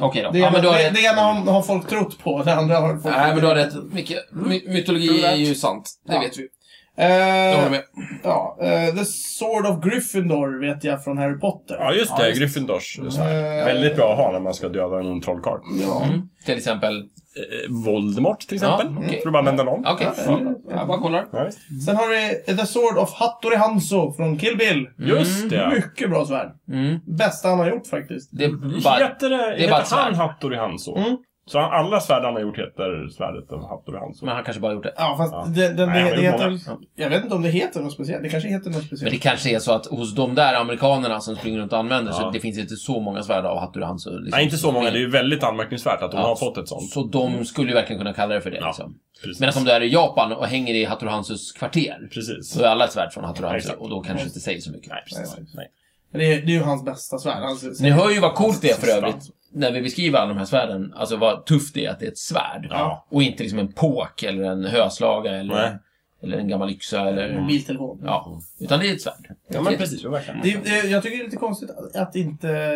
Speaker 4: Okej då.
Speaker 1: Det,
Speaker 4: ja, men du har
Speaker 1: det,
Speaker 4: rätt.
Speaker 1: det ena har, har folk trott på, det andra har folk
Speaker 4: Nej, men du har rätt. Micke, my mytologi är ju sant. Det
Speaker 1: Ja.
Speaker 4: vet vi. Jag håller
Speaker 1: Eh,
Speaker 4: med.
Speaker 1: ja, eh, The Sword of Gryffindor vet jag från Harry Potter.
Speaker 3: Ja, just det. Gryffindors svärd.
Speaker 1: Eh.
Speaker 3: Väldigt bra att ha när man ska döda en trollkarl.
Speaker 1: Ja.
Speaker 4: Mm. Till exempel.
Speaker 3: Eh, Voldemort till
Speaker 4: Ja,
Speaker 3: exempel.
Speaker 4: okej.
Speaker 3: För att bara nämna någon.
Speaker 4: Okej. Ja, jag bara kollar.
Speaker 3: Ja, visst.
Speaker 1: Sen har vi The Sword of Hattori Hanzo från Kill Bill.
Speaker 3: Just det.
Speaker 1: Mycket bra svärd.
Speaker 4: Mm.
Speaker 1: Bästa han har gjort faktiskt.
Speaker 4: Det
Speaker 3: Mm.
Speaker 4: är bara...
Speaker 3: Heter,
Speaker 4: det
Speaker 3: det,
Speaker 4: är bara ett
Speaker 3: heter han
Speaker 4: svärd.
Speaker 3: Hattori Hanzo?
Speaker 1: Mm.
Speaker 3: Så han- alla svärd han har gjort heter svärdet av Hattori Hanzo?
Speaker 4: Men han kanske bara gjort det.
Speaker 1: Ja, fast
Speaker 3: Ja.
Speaker 1: Det, den,
Speaker 3: Nej,
Speaker 1: det,
Speaker 3: han
Speaker 1: det
Speaker 3: gjorde
Speaker 1: heter,
Speaker 3: många.
Speaker 1: Jag vet inte om det heter något speciellt. Det kanske heter något
Speaker 4: Men det
Speaker 1: speciellt.
Speaker 4: kanske är så att hos de där amerikanerna som springer runt och använder så
Speaker 3: Ja.
Speaker 4: det finns inte så många svärd av Hattori Hanzo. Liksom,
Speaker 3: Nej, inte så
Speaker 4: som
Speaker 3: många. Det är
Speaker 4: springer.
Speaker 3: ju väldigt anmärkningsvärt att de
Speaker 4: Ja.
Speaker 3: har fått ett sånt.
Speaker 4: Så de skulle ju verkligen kunna kalla det för det.
Speaker 3: Ja.
Speaker 4: Liksom.
Speaker 3: Precis.
Speaker 4: Medan om du är i Japan och hänger i Hattori Hanzos kvarter,
Speaker 3: Precis.
Speaker 4: så är alla ett svärd från Hattori Hanzo
Speaker 3: Exakt.
Speaker 4: och då kanske det inte säger så mycket.
Speaker 3: Nej, precis. Nej.
Speaker 1: Det är, det är ju hans bästa svärd. Alltså,
Speaker 4: Ni hör ju vad coolt det är för övrigt. När vi beskriver alla de här svärden, alltså vad tufft det är att det är ett svärd.
Speaker 3: Ja.
Speaker 4: Och inte liksom en påk eller en höslaga eller,
Speaker 3: Nej. Mm.
Speaker 4: eller en gammal yxa eller...
Speaker 1: eh, Mobiltelefon.
Speaker 4: Ja. Utan det är ett svärd.
Speaker 3: Ja, men precis. Jo, verkligen.
Speaker 1: Det, det, jag tycker det är lite konstigt att- att inte, eh,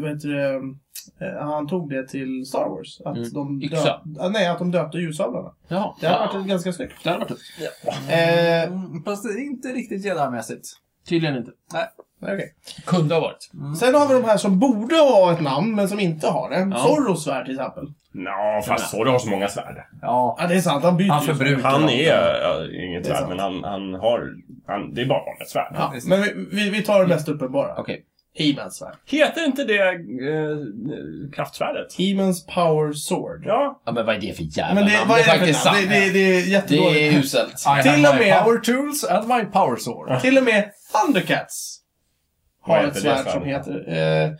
Speaker 1: vad heter det, eh, han tog det till Star Wars. Att
Speaker 4: Mm.
Speaker 1: de
Speaker 4: Yxa.
Speaker 1: döp, ah, nej, att de döpte ljusablarna.
Speaker 4: Ja.
Speaker 1: Det hade varit ganska snyggt.
Speaker 4: Det hade varit tufft.
Speaker 1: Eh,
Speaker 2: Mm, Fast det är inte riktigt jädarmässigt.
Speaker 4: Tydligen inte.
Speaker 1: okej.
Speaker 4: Kunde ha varit.
Speaker 1: Sen har vi de här som borde ha ett namn, men som inte har det.
Speaker 4: Ja.
Speaker 1: Zorros svärd till exempel.
Speaker 3: Nå, fast så du har så många svärd.
Speaker 2: Ja,
Speaker 1: Ja, det är sant. Han byter
Speaker 2: han
Speaker 1: ju.
Speaker 2: förbrukar
Speaker 3: Han
Speaker 2: dem.
Speaker 3: är äh, inget
Speaker 1: Det är
Speaker 3: svärd,
Speaker 1: sant.
Speaker 3: men han, han har... Han, det är bara vanligt svärd.
Speaker 1: Ja, men vi, vi, vi tar det mest uppenbara.
Speaker 4: Mm. Okej.
Speaker 1: He-Mans svärd.
Speaker 3: Heter inte det eh, kraftsvärdet?
Speaker 1: He-Mans power sword.
Speaker 3: Ja.
Speaker 4: Ja, men vad är det för jävla
Speaker 1: Men det,
Speaker 4: namn?
Speaker 1: vad är det för
Speaker 4: faktiskt
Speaker 1: namn?
Speaker 4: sant.
Speaker 1: Det, det, det är jättedåligt.
Speaker 4: Det är uselt.
Speaker 2: I
Speaker 1: Till
Speaker 2: have
Speaker 1: och
Speaker 2: my
Speaker 1: med-
Speaker 2: power tools and my power sword.
Speaker 1: Till och med Thundercats har
Speaker 3: Vad heter
Speaker 1: ett
Speaker 3: det
Speaker 1: svärd
Speaker 3: svärdet?
Speaker 1: som heter... Eh,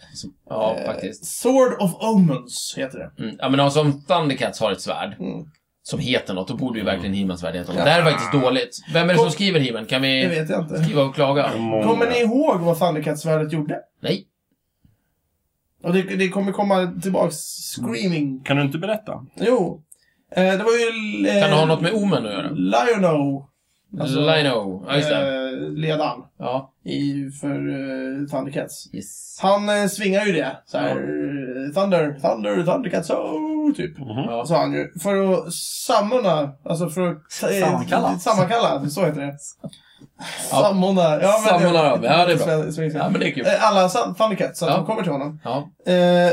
Speaker 4: Ja,
Speaker 1: eh,
Speaker 4: faktiskt.
Speaker 1: Sword of Omens heter det.
Speaker 4: Mm. Ja, men de som Thundercats har ett svärd.
Speaker 1: Mm.
Speaker 4: som heter något, då borde ju verkligen He-Mans värld heta något. Det här är faktiskt dåligt. Vem är det som skriver He-Man? Kan
Speaker 1: Det
Speaker 4: vi
Speaker 1: vet jag inte.
Speaker 4: skriva och klaga?
Speaker 1: Kommer ni ihåg vad Thundercats-svärdet gjorde?
Speaker 4: Nej.
Speaker 1: Och det, det kommer komma tillbaks screaming.
Speaker 3: Kan du inte berätta?
Speaker 1: Jo. Eh, det var ju... Eh,
Speaker 4: Kan det ha något med Omen att göra?
Speaker 1: Lionel. Alltså,
Speaker 4: Lino. Ja, just det.
Speaker 1: eh, ledaren
Speaker 4: Ja.
Speaker 1: i, för eh, Thundercats.
Speaker 4: Yes.
Speaker 1: Han eh, svingar ju det. Så här, eh, Thunder, Thunder, Thundercats, oh, typ.
Speaker 4: Ja.
Speaker 1: Sa han ju. För att samordna, alltså för att... eh,
Speaker 2: Sammankalla.
Speaker 1: Sammankalla, så heter det. Samordna. Ja, men-
Speaker 4: Samordna dem. Ja, det är bra.
Speaker 1: Sven- svenska.
Speaker 4: ja, men det är kul.
Speaker 1: Eh, Alla sam- Thundercats, så att
Speaker 4: Ja.
Speaker 1: de kommer till honom.
Speaker 4: Ja.
Speaker 1: Eh,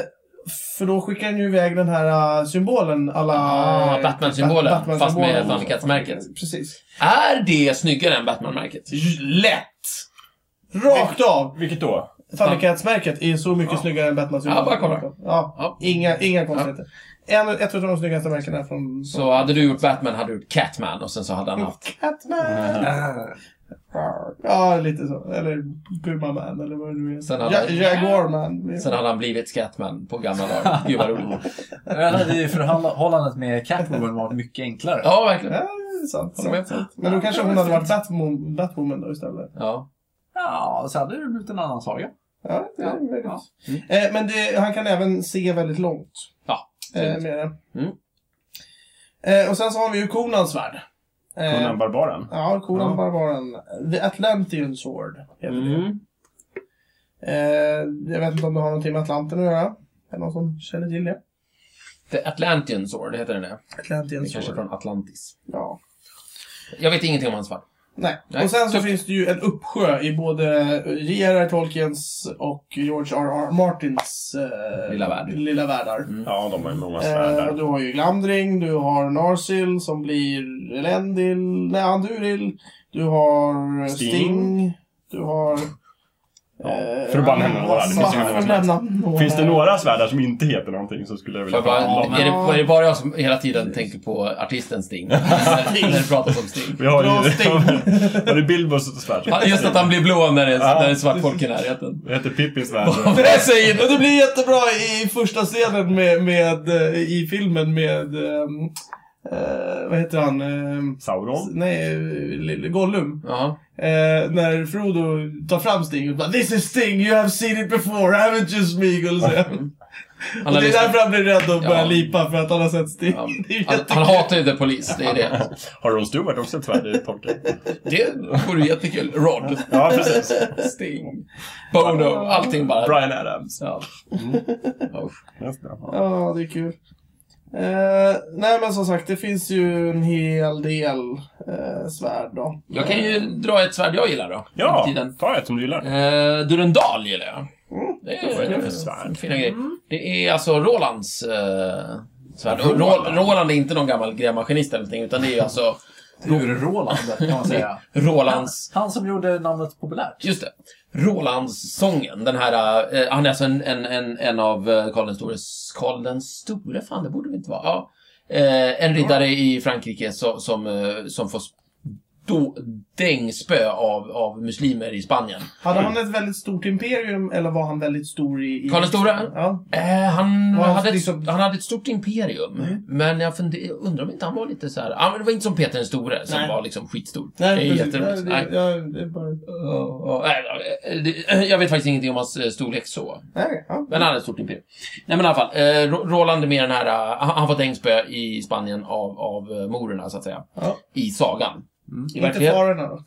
Speaker 1: för då skickar han ju iväg den här eh, symbolen, alla...
Speaker 4: Ah, Batman-symbolen,
Speaker 1: Bat-
Speaker 4: fast med
Speaker 1: Batman-symbolen.
Speaker 4: Thundercats-märket.
Speaker 1: Precis.
Speaker 4: Är det snyggare än Batman-märket?
Speaker 1: Lätt! Rakt av!
Speaker 3: Vilket då?
Speaker 1: Thundercats-märket är så mycket snyggare än Batman-symbolen.
Speaker 4: Ja, bara kolla.
Speaker 1: Ja,
Speaker 4: Ja.
Speaker 1: inga, inga konstigheter. En, ett av de snyggaste märkena från...
Speaker 4: Så hade du gjort Batman hade du gjort Catman och sen så hade han haft...
Speaker 1: Catman!
Speaker 2: Eh,
Speaker 1: Ja, lite så. Eller Puma-man, eller vad det nu är.
Speaker 4: Sen hade-
Speaker 1: Ja, Jaguar-man.
Speaker 4: Sen hade han blivit Scatman på gamla dagar. Gud vad roligt.
Speaker 2: Annars hade ju förhållandet med Catwoman varit mycket enklare.
Speaker 4: Ja, verkligen.
Speaker 1: Ja, det är sant.
Speaker 4: Håller med.
Speaker 1: sant, sant. Men då kanske hon hade varit Batwoman, Batwoman då istället.
Speaker 4: Ja.
Speaker 2: Ja, så hade det blivit en annan saga.
Speaker 1: Ja, det är
Speaker 2: Ja,
Speaker 1: möjligt.
Speaker 2: ja.
Speaker 1: Eh, men det, han kan även se väldigt långt.
Speaker 4: Ja,
Speaker 1: Eh, med det.
Speaker 4: Mm.
Speaker 1: Eh, och sen så har vi ju Konans svärd. Eh,
Speaker 3: Conan Barbaren?
Speaker 1: Ja, Konan
Speaker 3: Ja.
Speaker 1: Barbaren. The Atlantean Sword heter det.
Speaker 3: Mm.
Speaker 1: Eh, jag vet inte om det har någonting med Atlanten att göra. Är det någon som känner till det?
Speaker 4: The Atlantean Sword, heter den det?
Speaker 1: Atlantean
Speaker 4: Det kanske är från Atlantis.
Speaker 1: Ja.
Speaker 4: Jag vet ingenting om hans fall.
Speaker 1: Nej.
Speaker 4: Nej,
Speaker 1: Och sen så
Speaker 4: tuff.
Speaker 1: finns det ju en uppsjö i både J.R.R. Tolkiens och George R.R. Martins eh,
Speaker 4: Lilla värld. Mm.
Speaker 1: lilla världar.
Speaker 3: Ja, de har ju många
Speaker 1: Eh,
Speaker 3: svärd
Speaker 1: du har ju Glamdring, du har Narsil som blir Elendil, nej Anduril, du har eh, Sting,
Speaker 3: Sting.
Speaker 1: du har... eh,
Speaker 3: för att bara nämna några, det
Speaker 1: Hassan,
Speaker 3: finns ju hur många
Speaker 1: för att
Speaker 3: som helst.
Speaker 1: nämna några.
Speaker 3: Finns det några svärdar som inte heter någonting så skulle jag vilja
Speaker 4: Jag bara,
Speaker 3: prata om
Speaker 4: är,
Speaker 3: dem.
Speaker 4: det, är det bara jag som hela tiden tänker på artisten Sting? när det pratas om Sting.
Speaker 3: Vi har ju...
Speaker 1: Dra Sting.
Speaker 3: Var det Bilbos svärd?
Speaker 4: Ja, Just att han blir blå när det är,
Speaker 3: Ja.
Speaker 4: när det är svart folk i närheten.
Speaker 3: Det heter Pippins svärd.
Speaker 4: Vad
Speaker 1: Det, säger, men det blir jättebra i första scenen med, med, eh, i filmen med... ehm, eh, vad heter han? Ehm,
Speaker 3: Sauron?
Speaker 1: nej, eh, lille Gollum.
Speaker 4: Ja.
Speaker 1: Eh, när Frodo tar fram Sting och bara This is Sting, you have seen it before, haven't you Smeagol? säger han.
Speaker 4: Han,
Speaker 1: Och
Speaker 4: har
Speaker 1: det är
Speaker 4: lyssnat-
Speaker 1: därför han blir rädd och börjar
Speaker 4: Ja.
Speaker 1: lipa för att han har sett Sting.
Speaker 4: ja.
Speaker 1: Det är ju
Speaker 4: han, han
Speaker 1: jättekul.
Speaker 4: hatar ju The Police, det är det.
Speaker 3: Har Ron Stewart också ett svärd i Tolkien?
Speaker 4: Det vore ju jättekul. Rod,
Speaker 3: Ja, precis.
Speaker 4: Sting, Bono, allting bara.
Speaker 3: Brian Adams.
Speaker 4: Ja. Mm. Ja, usch.
Speaker 3: Just det.
Speaker 1: Ja, det är kul. Eh, nej men som sagt, det finns ju en hel del eh, svärd då.
Speaker 4: Jag kan ju dra ett svärd jag gillar då.
Speaker 3: Ja,
Speaker 4: Tiden.
Speaker 3: ta ett som du gillar.
Speaker 4: Eh, Durendal gillar jag. Det
Speaker 3: Mm. Vad är
Speaker 4: är
Speaker 3: det för
Speaker 4: eh,
Speaker 3: svärd?
Speaker 4: fina grejer. Det är alltså Rolands eh, svärd. Och Ro- Roland är inte någon gammal grävmaskinist eller någonting, utan det är ju alltså
Speaker 2: Ur-Roland, kan man säga.
Speaker 4: Rolands...
Speaker 2: Han som gjorde namnet populärt.
Speaker 4: Just det. Rolands-sången. Den här... Eh, han är alltså en, en, en, en av eh, Karl den stores... Karl den store? Fan, det borde vi inte vara. Ja. Eh, en riddare i Frankrike som, som, eh, som får då, dängspö av, av muslimer i Spanien.
Speaker 1: Hade han ett väldigt stort imperium eller var han väldigt stor i... i...
Speaker 4: Karl den store?
Speaker 1: Ja.
Speaker 4: Eh, han,
Speaker 1: Var han
Speaker 4: hade
Speaker 1: liksom- Mm.
Speaker 4: ett, han hade ett stort imperium. Men jag funder, undrar om inte han var lite så här. Ja, men det var inte som Peter den store som
Speaker 1: Nej.
Speaker 4: var liksom skitstor.
Speaker 1: Nej,
Speaker 4: det är
Speaker 1: precis.
Speaker 4: jätteroligt.
Speaker 1: Nej,
Speaker 4: Nej.
Speaker 1: det, ja, det är bara...
Speaker 4: Ja, ja, eh, det- Jag vet faktiskt ingenting om hans eh, storlek så.
Speaker 1: Nej, ja.
Speaker 4: Men han hade ett stort imperium. Nej men i alla fall. Eh, Ro- Roland är med den här... eh, han- Han får dängspö i Spanien av, av eh, morerna så att säga.
Speaker 1: Ja.
Speaker 4: I sagan. I,
Speaker 1: Inte
Speaker 4: verkligheten,
Speaker 1: farorna då.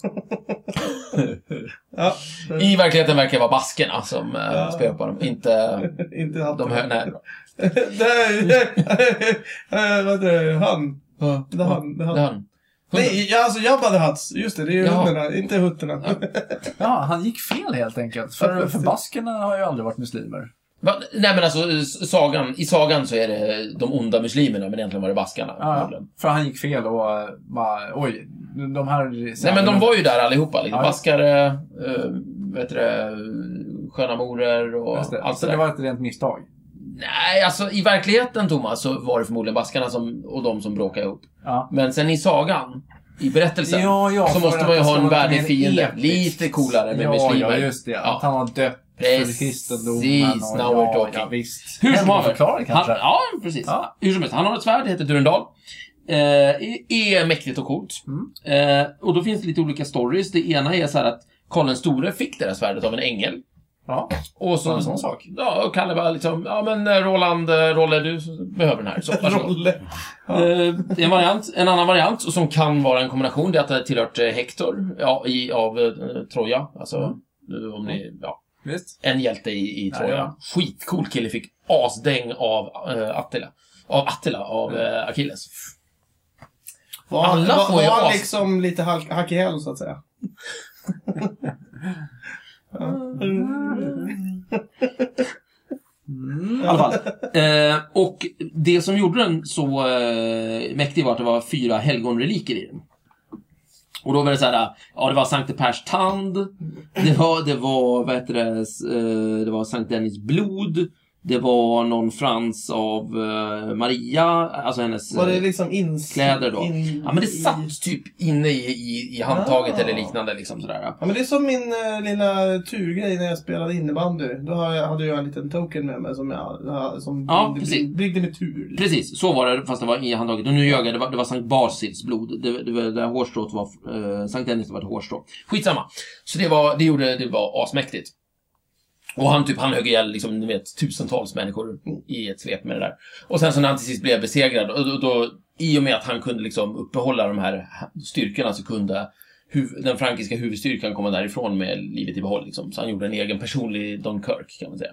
Speaker 1: ja.
Speaker 4: I verkligheten verkar det vara baskerna som eh,
Speaker 1: Ja.
Speaker 4: spöar på dem. Inte
Speaker 1: Inte
Speaker 4: de hö... Nej.
Speaker 1: Nej, eh, vad heter det? Han. Det är han. Det är han.
Speaker 4: Det är han.
Speaker 1: Nej, ja, alltså Jabba the Hutt. Just det, det är ju
Speaker 4: Ja.
Speaker 1: hundarna, inte hutterna.
Speaker 2: Ja, han gick fel helt enkelt. För, för baskerna har ju aldrig varit muslimer.
Speaker 4: Va? Nej men alltså, s- sagan, i sagan så är det de onda muslimerna, men egentligen var det baskarna.
Speaker 2: Ja, för han gick fel och eh, bara, oj, de här...
Speaker 4: Nej men de var ju där allihopa. Liksom.
Speaker 2: Ja.
Speaker 4: Baskare, äh, vet du det, sköna morer och
Speaker 2: Just det.
Speaker 4: allt
Speaker 2: Så
Speaker 4: sådär.
Speaker 2: Alltså, det var ett rent misstag.
Speaker 4: Nej, alltså i verkligheten Thomas så var det förmodligen baskarna som, och de som bråkade ihop.
Speaker 2: Ja.
Speaker 4: Men sen i sagan, i berättelsen,
Speaker 2: Ja, ja,
Speaker 4: Alltså, så
Speaker 2: för
Speaker 4: måste
Speaker 2: att
Speaker 4: man ju
Speaker 2: det
Speaker 4: ha
Speaker 2: ska
Speaker 4: en
Speaker 2: vara
Speaker 4: värdig
Speaker 2: mer
Speaker 4: fiende.
Speaker 2: episkt.
Speaker 4: Lite coolare med
Speaker 2: ja,
Speaker 4: muslimer.
Speaker 2: Ja, just det.
Speaker 4: Ja.
Speaker 2: Att han var döpt
Speaker 4: Precis.
Speaker 2: för kristendomen.
Speaker 4: Now we're talking.
Speaker 2: Ja, visst.
Speaker 4: Hur
Speaker 2: Men
Speaker 4: som
Speaker 2: man
Speaker 4: helst.
Speaker 2: förklarar kanske.
Speaker 4: Han, ja, precis.
Speaker 2: Ja.
Speaker 4: Hur som helst, han har ett svärd, det heter Durendal. eh, är mäktigt och coolt.
Speaker 2: Mm.
Speaker 4: Eh, och då finns det lite olika stories. Det ena är så här att Karl den store fick det där svärdet av en ängel.
Speaker 2: Ja.
Speaker 4: Och så,
Speaker 2: Var det en sån sak?
Speaker 4: Ja, och Kalle bara liksom, ja men eh, Roland, eh, Rolle, du behöver den här. Så, varsågod.
Speaker 1: Rolle. Ja.
Speaker 4: Eh, det är en variant. En annan variant, och som kan vara en kombination, det är att det har tillhört eh, Hector ja, i, av eh, Troja. Alltså, eh, om ni, ja.
Speaker 2: Visst?
Speaker 4: En hjälte i, i
Speaker 2: Ja,
Speaker 4: Troja.
Speaker 2: ja.
Speaker 4: Skitcool kille fick asdäng av eh, Attila. Av Attila, av eh, Achilles.
Speaker 1: Var,
Speaker 4: Alla
Speaker 1: var,
Speaker 4: får
Speaker 1: var
Speaker 4: ju
Speaker 1: han
Speaker 4: as-
Speaker 1: liksom lite hack, hack i häl, så att säga?
Speaker 2: Mm.
Speaker 4: I alla fall. Eh, och det som gjorde den så eh, mäktig var att det var fyra helgonreliker i den. Och då var det så här, eh, ja det var Sankte Pers tand, det var, det var, vad heter det, s- eh, det var Sankt Dennis blod, det var någon frans av eh, Maria, alltså hennes...
Speaker 1: Var
Speaker 4: eh,
Speaker 1: det liksom ins...
Speaker 4: kläder då.
Speaker 1: in-
Speaker 4: Ja men det
Speaker 1: i-
Speaker 4: satt typ inne i, i, i handtaget
Speaker 1: Ah.
Speaker 4: eller liknande liksom sådär.
Speaker 1: Ja, men det är som min eh, lilla turgrej när jag spelade innebandy. Då har jag- hade jag en liten token med mig som jag ha- som
Speaker 4: Ja,
Speaker 1: byggde,
Speaker 4: precis.
Speaker 1: byggde med tur.
Speaker 4: Precis, så var det fast det var i handtaget. Och nu ljög jag, det var, det var Sankt Basils blod. Det, det, var- det där hårstrået var, eh, Sankt Dennis var ett hårstrå. Skitsamma. Så det, var, det gjorde, det var asmäktigt. Och han typ, han högg ihjäl liksom, ni vet, tusentals människor i ett svep med det där. Och sen så när han till sist blev besegrad, och då, då, i och med att han kunde liksom uppehålla de här styrkorna så kunde huv, den frankiska huvudstyrkan komma därifrån med livet i behåll. Liksom. Så han gjorde en egen personlig Dunkirk kan man säga.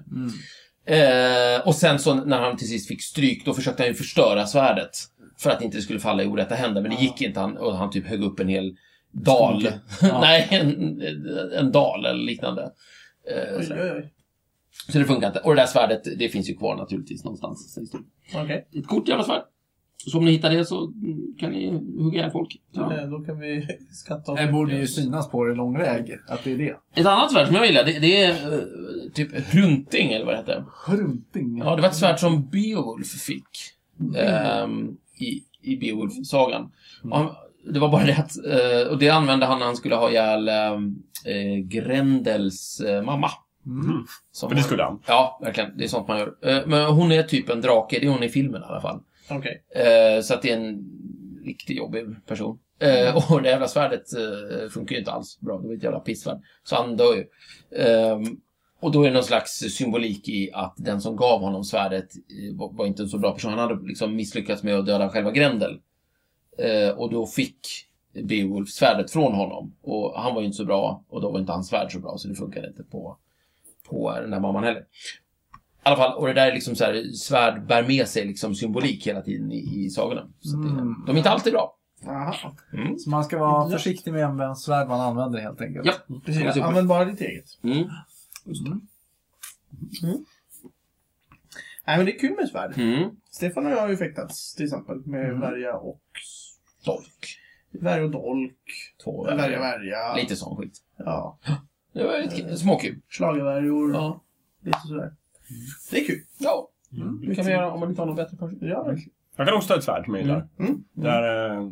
Speaker 4: Eh, och sen så när han till sist fick stryk, då försökte han ju förstöra svärdet. För att inte det skulle falla i orätta händer, men det gick inte. Han, och han typ högg upp en hel dal. Nej, en, en dal eller liknande. Eh,
Speaker 1: Oj,
Speaker 4: så,
Speaker 1: oj, oj.
Speaker 4: så det funkar inte. Och det där svärdet, det finns ju kvar naturligtvis någonstans. Så det står-
Speaker 1: Okej,
Speaker 4: Ett kort jävla svärd. Så om ni hittar det så mm, kan ni hugga ihjäl folk.
Speaker 1: Eh, då kan vi skatta om
Speaker 2: Det borde ju synas på det lång väg, att det är det.
Speaker 4: Ett annat svärd som jag gillar, det, det är eh, typ Hrunting eller vad det heter.
Speaker 2: Hrunting.
Speaker 4: Ja, det var ett svärd som Beowulf fick ehm, i, i Beowulf-sagan.
Speaker 3: Mm.
Speaker 4: Och han- Det var bara det att, eh, och det använde han när han skulle ha ihjäl ehm, eh, Grendels eh, mamma.
Speaker 2: Mm.
Speaker 4: Som
Speaker 3: För det skulle han.
Speaker 4: Ja, verkligen. Det är sånt man gör. Eh, men hon är typ en drake, det är hon i filmen i alla fall.
Speaker 1: Okej.
Speaker 4: Eh, så att det är en riktigt jobbig person.
Speaker 3: Mm.
Speaker 4: Eh, och det jävla svärdet eh, funkar ju inte alls bra. Det var ett jävla pissvärd. Så han dör ju. Ehm, och då är det någon slags symbolik i att den som gav honom svärdet eh, var, var inte en så bra person. Han hade liksom misslyckats med att döda själva Grendel. Eh, och då fick Beowulf svärdet från honom. Och han var ju inte så bra och då var inte hans svärd så bra så det funkade inte på, på den där mamman heller. I alla fall, och det där är liksom så här, svärd bär med sig liksom symbolik hela tiden i, i sagorna. Så att det,
Speaker 2: Mm.
Speaker 4: De är inte alltid bra.
Speaker 1: Aha.
Speaker 4: Mm.
Speaker 2: Så man ska vara försiktig med vem svärd man använder helt enkelt.
Speaker 4: Ja.
Speaker 1: Precis.
Speaker 4: Super.
Speaker 1: Använd bara ditt eget.
Speaker 4: Mm.
Speaker 1: Nej, men det är kul med svärd.
Speaker 4: Mm.
Speaker 1: Stefan och jag har ju fäktats till exempel med
Speaker 2: Mm.
Speaker 1: värja och
Speaker 4: Dolk.
Speaker 1: värja och dolk.
Speaker 4: Två
Speaker 1: Värja, värja.
Speaker 4: Lite sån skit.
Speaker 1: Ja.
Speaker 4: Det var lite kul. småkul.
Speaker 1: Schlagervärjor.
Speaker 4: Ja.
Speaker 1: Lite sådär. Det är kul.
Speaker 4: ja.
Speaker 2: Mm.
Speaker 4: Det kan vi göra om man inte har något bättre för sig.
Speaker 1: Ja, verkligen.
Speaker 3: Jag kan också ta ett svärd som jag gillar.
Speaker 1: Mm. Mm.
Speaker 3: Där, eh,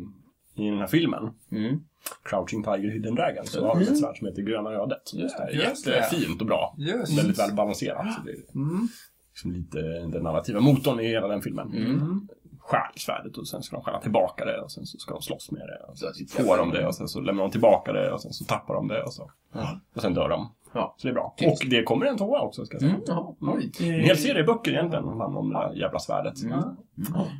Speaker 3: I den här filmen,
Speaker 4: Mm.
Speaker 3: Crouching Tiger Hidden Dragon, så har vi ett svärd som heter Gröna Ödet. Just det.
Speaker 2: Just det.
Speaker 3: Jättefint och bra.
Speaker 2: Just.
Speaker 3: Väldigt väl balanserat. Så det är
Speaker 2: Mm.
Speaker 3: liksom lite den narrativa motorn i hela den filmen.
Speaker 2: Mm.
Speaker 3: Stjäl svärdet och sen ska de stjäla tillbaka det och sen så ska de slåss med det. Och
Speaker 4: Så
Speaker 3: sen
Speaker 4: att-
Speaker 3: får de det och sen så lämnar de tillbaka det och sen så tappar de det och så.
Speaker 4: Ja.
Speaker 3: Och sen dör de.
Speaker 4: Ja.
Speaker 3: Så det är bra.
Speaker 4: Typiskt.
Speaker 3: Och det kommer en tvåa också ska jag säga.
Speaker 4: Mm. Ja. Oj.
Speaker 3: En hel serie böcker egentligen handlar om det där jävla svärdet.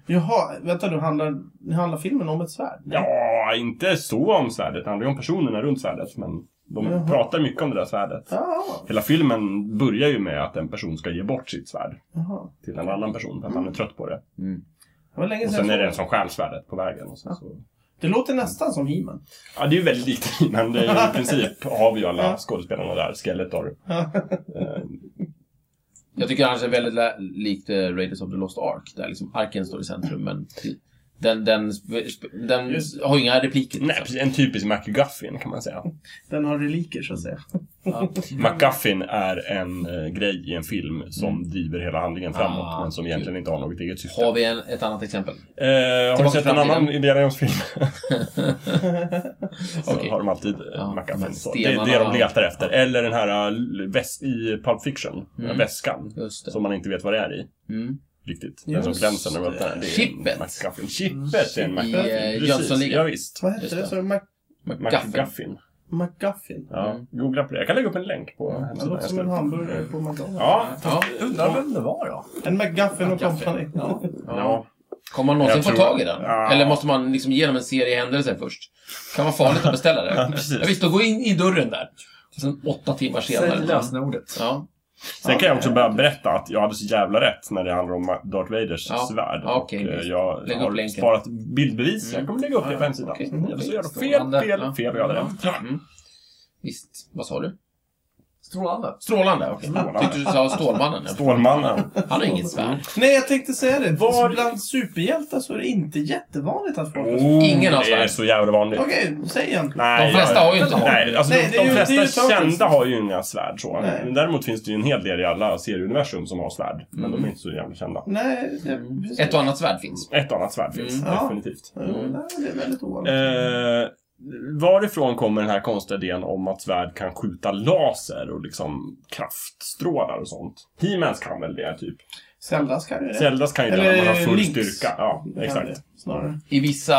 Speaker 1: Jaha, vänta nu. Handlar, handlar filmen om ett svärd?
Speaker 3: Ja, inte så om svärdet. Det handlar ju om personerna runt svärdet. Men de
Speaker 1: Jaha.
Speaker 3: pratar mycket om det där svärdet.
Speaker 1: Ja.
Speaker 3: Hela filmen börjar ju med att en person ska ge bort sitt svärd
Speaker 1: Jaha.
Speaker 3: till en annan person för att han är trött på det.
Speaker 1: Det var länge
Speaker 3: Och
Speaker 1: sedan
Speaker 3: sen är
Speaker 1: jag
Speaker 3: det
Speaker 1: såg
Speaker 3: en som stjäl svärdet på vägen. Och sen så...
Speaker 1: Det låter nästan som He-Man.
Speaker 3: Ja, det är ju väldigt likt men det är, i princip har vi ju alla skådespelarna där. Skeletor. Eh,
Speaker 4: Jag tycker annars är väldigt la- likt eh, Raiders of the Lost Ark. Där liksom arken står i centrum men den, den, sp- den
Speaker 1: Just.
Speaker 4: har ju inga repliker.
Speaker 3: nej, precis. En typisk MacGuffin kan man säga.
Speaker 1: Den har reliker så att säga.
Speaker 4: Mm.
Speaker 3: MacGuffin är en eh, grej i en film som driver hela handlingen framåt
Speaker 4: Mm. Ah,
Speaker 3: men som egentligen inte har något eget syfte.
Speaker 4: Har vi en, ett annat exempel?
Speaker 3: Eh, har du
Speaker 4: Tillbaka
Speaker 3: sett
Speaker 4: till
Speaker 3: en annan
Speaker 4: framtiden.
Speaker 3: Indiana Jones-film? så
Speaker 4: Okej.
Speaker 3: har de alltid eh,
Speaker 4: Ja,
Speaker 3: MacGuffin.
Speaker 4: de här
Speaker 3: Så Det är
Speaker 4: stenarna.
Speaker 3: det de letar efter. Eller den här eh, väs- i Pulp Fiction, den här
Speaker 4: Mm.
Speaker 3: väskan.
Speaker 4: Just det.
Speaker 3: Som man inte vet vad det är i.
Speaker 4: Mm.
Speaker 3: riktigt. Den som
Speaker 1: Just
Speaker 3: glänser när man öppnar den. Det är en
Speaker 4: Chippet.
Speaker 3: McGuffin. Chippet är en
Speaker 4: I,
Speaker 3: McGuffin.
Speaker 4: eh,
Speaker 3: Precis.
Speaker 4: Jönssonligan.
Speaker 3: Ja, visst.
Speaker 1: Vad heter
Speaker 4: Just
Speaker 1: det?
Speaker 4: det.
Speaker 1: Så Mac-
Speaker 4: McGuffin.
Speaker 3: McGuffin.
Speaker 1: McGuffin?
Speaker 3: Ja,
Speaker 4: Mm.
Speaker 3: googla på det. Jag kan lägga upp en länk på
Speaker 1: Det
Speaker 3: hemsidan.
Speaker 1: låter som en hamburgare på McDonalds.
Speaker 3: Ja,
Speaker 4: Ja.
Speaker 2: Undrar vem det var då?
Speaker 1: En McGuffin och
Speaker 4: McGuffin.
Speaker 1: kompani.
Speaker 2: Ja.
Speaker 3: ja.
Speaker 4: Kommer man någonsin
Speaker 3: Jag
Speaker 4: få
Speaker 3: tror-
Speaker 4: tag i den?
Speaker 3: Ja.
Speaker 4: Eller måste man liksom ge dem en serie händelser först? kan vara farligt att beställa det.
Speaker 3: Ja, precis.
Speaker 4: ja, visst, då gå in i dörren där. Och sen åtta timmar senare.
Speaker 2: Säg lösenordet.
Speaker 4: Ja,
Speaker 3: Sen kan jag också bara berätta att jag hade så jävla rätt när det handlar om Darth Vaders
Speaker 4: Ja.
Speaker 3: svärd.
Speaker 4: Ja, okej,
Speaker 3: och eh,
Speaker 4: visst.
Speaker 3: jag
Speaker 4: Lägg upp
Speaker 3: har
Speaker 4: länken.
Speaker 3: sparat bildbevis.
Speaker 4: Mm.
Speaker 3: Jag kommer lägga upp det på hemsidan.
Speaker 4: okej.
Speaker 3: Mm. Så gör du
Speaker 4: Strålande.
Speaker 3: fel, fel, fel och jag hade rätt.
Speaker 4: mm. visst. Vad sa du?
Speaker 2: Strålande.
Speaker 4: Strålande? Okej.
Speaker 3: Strålande.
Speaker 4: Mm. Tyckte du sa Stålmannen.
Speaker 3: Stålmannen.
Speaker 4: Han har inget svärd.
Speaker 1: Nej, jag tänkte säga det.
Speaker 3: Var-
Speaker 1: Bland superhjältar så är det inte jättevanligt att folk...
Speaker 3: Oh,
Speaker 4: Ingen har
Speaker 3: Det är
Speaker 4: svärd.
Speaker 3: så jävla vanligt.
Speaker 1: Okej, säg en.
Speaker 3: Nej,
Speaker 4: De flesta
Speaker 3: jag-
Speaker 4: har ju inte.
Speaker 3: Nej, alltså
Speaker 1: Nej,
Speaker 3: de,
Speaker 1: det är ju-
Speaker 3: de
Speaker 1: det är ju
Speaker 3: flesta
Speaker 1: Tolkien.
Speaker 3: kända har ju inga svärd så.
Speaker 1: Nej.
Speaker 3: Men Däremot finns det ju en hel del i alla serieuniversum som har svärd. Men de är inte så jävla kända.
Speaker 1: Nej, det,
Speaker 3: Mm.
Speaker 1: precis.
Speaker 4: Ett och annat svärd finns.
Speaker 3: Ett annat svärd finns,
Speaker 1: Mm. Ja.
Speaker 3: definitivt.
Speaker 1: Mm. Nej, det är väldigt ovanligt.
Speaker 3: Eh, varifrån kommer den här konstiga idén om att svärd kan skjuta laser och liksom kraftstrålar och sånt? He-Mans kan väl det, typ?
Speaker 1: Zeldas kan ju det.
Speaker 3: Zeldas kan ju det när man har
Speaker 1: Eh, Eller
Speaker 3: full
Speaker 1: Lynx.
Speaker 3: styrka. Ja,
Speaker 1: Det kan
Speaker 3: exakt.
Speaker 1: det, Snarare.
Speaker 4: I vissa,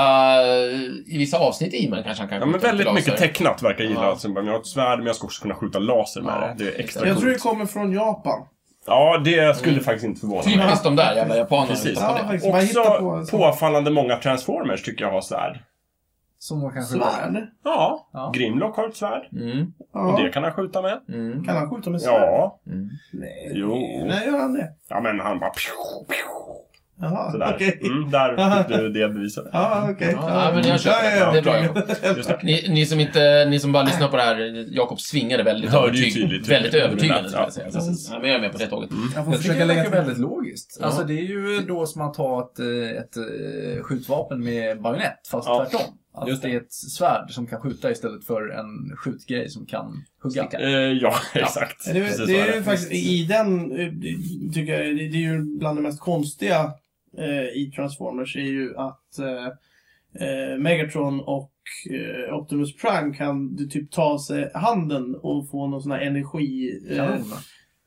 Speaker 4: I vissa avsnitt i men kanske han kan
Speaker 3: Ja, men
Speaker 4: skjuta
Speaker 3: väldigt
Speaker 4: laser.
Speaker 3: mycket tecknat verkar gilla
Speaker 4: Ja.
Speaker 3: att sen bara, jag har ett svärd men jag ska också kunna skjuta laser med
Speaker 4: Ja,
Speaker 3: det. Det är extra
Speaker 1: Jag tror det
Speaker 3: coolt.
Speaker 1: kommer från Japan.
Speaker 3: Ja, det
Speaker 4: Mm.
Speaker 3: skulle faktiskt inte förvåna mig.
Speaker 4: Typiskt de där jävla japanerna.
Speaker 3: Precis.
Speaker 4: Precis.
Speaker 1: Ja,
Speaker 4: Det.
Speaker 1: faktiskt. Man hittar på...
Speaker 3: Också
Speaker 1: så-
Speaker 3: påfallande många transformers tycker jag har svärd.
Speaker 2: Som de kanske
Speaker 1: Svärd?
Speaker 3: Ja,
Speaker 2: Ja.
Speaker 3: Grimlock har ett svärd.
Speaker 4: Mm,
Speaker 3: Och
Speaker 1: Ja.
Speaker 3: det kan han skjuta med.
Speaker 4: mm.
Speaker 1: Kan han skjuta med svärd?
Speaker 3: Ja.
Speaker 4: Mm.
Speaker 1: Nej.
Speaker 3: Jo.
Speaker 1: Nej, gör han det?
Speaker 3: Ja, men han bara... Pju, pju,
Speaker 1: Jaha,
Speaker 3: Sådär.
Speaker 1: okej.
Speaker 3: Mm, där fick du det beviset.
Speaker 1: Ja, okej.
Speaker 4: Ja, nej, men jag köper det. Det är bra
Speaker 3: Just det.
Speaker 4: Ni, ni, som inte, ni som bara lyssnar på det här, Jakob svingade väldigt
Speaker 3: Hörde ju
Speaker 4: övertyg-
Speaker 3: tydligt.
Speaker 4: Väldigt övertygande,
Speaker 3: Ja,
Speaker 4: skulle jag säga.
Speaker 1: precis.
Speaker 4: Ja, men jag är med på det tåget.
Speaker 1: Jag får
Speaker 2: Jag tycker
Speaker 1: försöka
Speaker 2: det
Speaker 1: lägga
Speaker 2: verkar
Speaker 1: till.
Speaker 2: väldigt logiskt.
Speaker 4: Ja.
Speaker 2: Alltså det är ju då som att ha ett, eh, ett eh, skjutvapen med bajonett, fast
Speaker 3: Ja.
Speaker 2: tvärtom. Att
Speaker 3: Just
Speaker 2: det.
Speaker 3: det.
Speaker 2: är ett svärd som kan skjuta istället för en skjutgrej som kan hugga.
Speaker 4: Sticka.
Speaker 3: Eh, ja, exakt.
Speaker 1: Det, är-
Speaker 3: Precis
Speaker 1: det
Speaker 3: så
Speaker 1: är ju faktiskt, i den, eh, tycker jag, det, det är ju bland det mest konstiga eh, i Transformers är ju att eh, eh, Megatron och eh, Optimus Prime kan du typ ta sig handen och få någon sån här energi... Eh,
Speaker 2: Kanon.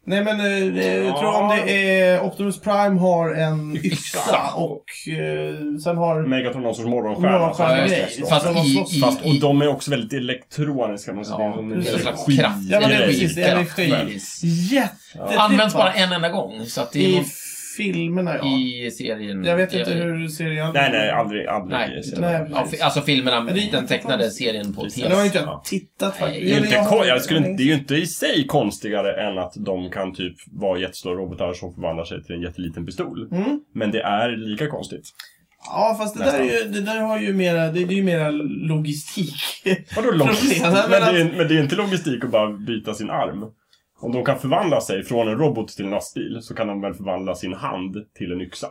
Speaker 1: nej men, eh, jag tror
Speaker 3: Ja.
Speaker 1: om det är Optimus Prime har en
Speaker 3: Yxa.
Speaker 1: yxa och eh, sen har...
Speaker 3: Megatron någon sorts morgonstjärna.
Speaker 1: Några
Speaker 3: alltså.
Speaker 1: stjärnor
Speaker 4: just det.
Speaker 1: grejer.
Speaker 4: Fast
Speaker 1: Så de
Speaker 4: i-
Speaker 1: slåss.
Speaker 4: i-
Speaker 3: Fast, och de är också väldigt elektroniska. Man
Speaker 4: Ja,
Speaker 3: ja,
Speaker 4: en slags
Speaker 1: energi-
Speaker 4: kraft.
Speaker 1: Ja, men det är precis, det är
Speaker 4: Energikraft.
Speaker 1: energi. Jättetrippat.
Speaker 4: Används bara en enda gång, så att det är
Speaker 1: I
Speaker 4: någon,
Speaker 1: filmerna, ja.
Speaker 4: i Mm. serien.
Speaker 1: Jag vet inte hur serien...
Speaker 3: Nej, nej, aldrig. aldrig
Speaker 4: Nej,
Speaker 3: ser
Speaker 4: inte-
Speaker 3: det.
Speaker 1: nej,
Speaker 4: Ja, fi- alltså filmerna,
Speaker 1: Men det är
Speaker 4: den tecknade serien på
Speaker 3: Precis.
Speaker 1: Ja, Det har ju
Speaker 4: TV.
Speaker 1: inte
Speaker 3: Ja.
Speaker 1: jag tittat faktiskt.
Speaker 3: det, är
Speaker 1: Eller
Speaker 3: ju inte
Speaker 1: jag har-
Speaker 3: kon- jag skulle inte, det är ju inte i sig konstigare än att de kan typ vara jättestora robotar som förvandlar sig till en jätteliten pistol.
Speaker 1: Mm.
Speaker 3: Men det är lika konstigt.
Speaker 1: Ja, fast det där, är ju, det där har ju mera, det, det är ju mera logistik.
Speaker 3: Vadå logistik?
Speaker 1: Problem, men
Speaker 3: Men, det är,
Speaker 4: alltså-
Speaker 3: men det är inte logistik att bara byta sin arm. Om de kan förvandla sig från en robot till en lastbil så kan de väl förvandla sin hand till en yxa.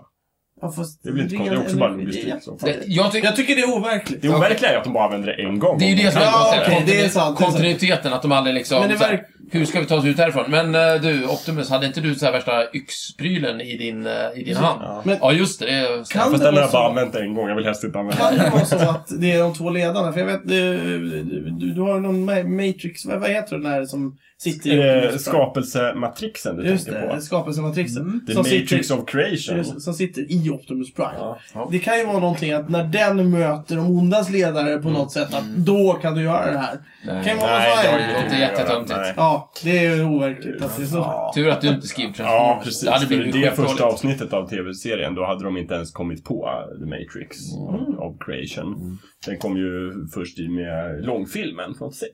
Speaker 1: Ja, fast
Speaker 3: Det blir inte
Speaker 1: ren
Speaker 3: konstigt, det är också bara
Speaker 1: energi,
Speaker 3: logistik.
Speaker 1: det-
Speaker 3: Så.
Speaker 4: Det, jag tycker
Speaker 1: Jag tycker det är overkligt.
Speaker 3: Det overkliga är att de bara använder det en gång.
Speaker 4: Det är ju det som är
Speaker 1: Ja,
Speaker 4: konstigt.
Speaker 1: okej, det är sant, det är sant.
Speaker 4: Kontinuiteten, att de aldrig liksom...
Speaker 1: Men det
Speaker 4: så här,
Speaker 1: verk-
Speaker 4: hur ska vi ta oss ut härifrån? Men eh, du, Optimus, hade inte du så här värsta yxprylen i din, eh, i din hand? Ja,
Speaker 3: Ja.
Speaker 1: Men
Speaker 4: just det. det är, så här-
Speaker 1: Kan
Speaker 3: Fast
Speaker 1: det
Speaker 3: den har
Speaker 1: vara
Speaker 3: jag bara
Speaker 1: så-
Speaker 3: använt en gång, jag vill helst inte använda
Speaker 1: Kan
Speaker 3: den.
Speaker 1: det vara så att det är de två ledarna? För jag vet, du, du, du har ju någon ma- Matrix, vad, vad heter den här som sitter i...
Speaker 3: Eh, Skapelsematrixen du
Speaker 1: Just
Speaker 3: tänker
Speaker 1: det,
Speaker 3: på.
Speaker 1: skapelsematrixen.
Speaker 3: The
Speaker 1: Som
Speaker 3: Matrix
Speaker 1: sitter,
Speaker 3: of Creation.
Speaker 1: just, som sitter i Optimus Prime.
Speaker 3: Ja.
Speaker 1: Det kan ju vara någonting att när den möter de ondas ledare på något sätt, att då kan du göra det här.
Speaker 4: Nej.
Speaker 1: Kan ju vara
Speaker 3: Mm. Nej,
Speaker 1: så
Speaker 3: det
Speaker 1: här.
Speaker 3: har
Speaker 4: Det
Speaker 3: ju
Speaker 4: låter
Speaker 3: ingenting att göra.
Speaker 4: jättetöntigt.
Speaker 3: Nej.
Speaker 1: Ja, det är ju overkligt att det är så.
Speaker 3: Ja.
Speaker 4: Tur att du inte skrev Transformers.
Speaker 3: Ja, precis.
Speaker 4: Det hade
Speaker 3: Det,
Speaker 4: blivit
Speaker 3: det
Speaker 4: skitdåligt.
Speaker 3: första avsnittet av tv-serien, då hade de inte ens kommit på The Matrix
Speaker 1: Mm.
Speaker 3: of, of Creation. Den kom ju först i med långfilmen från 6.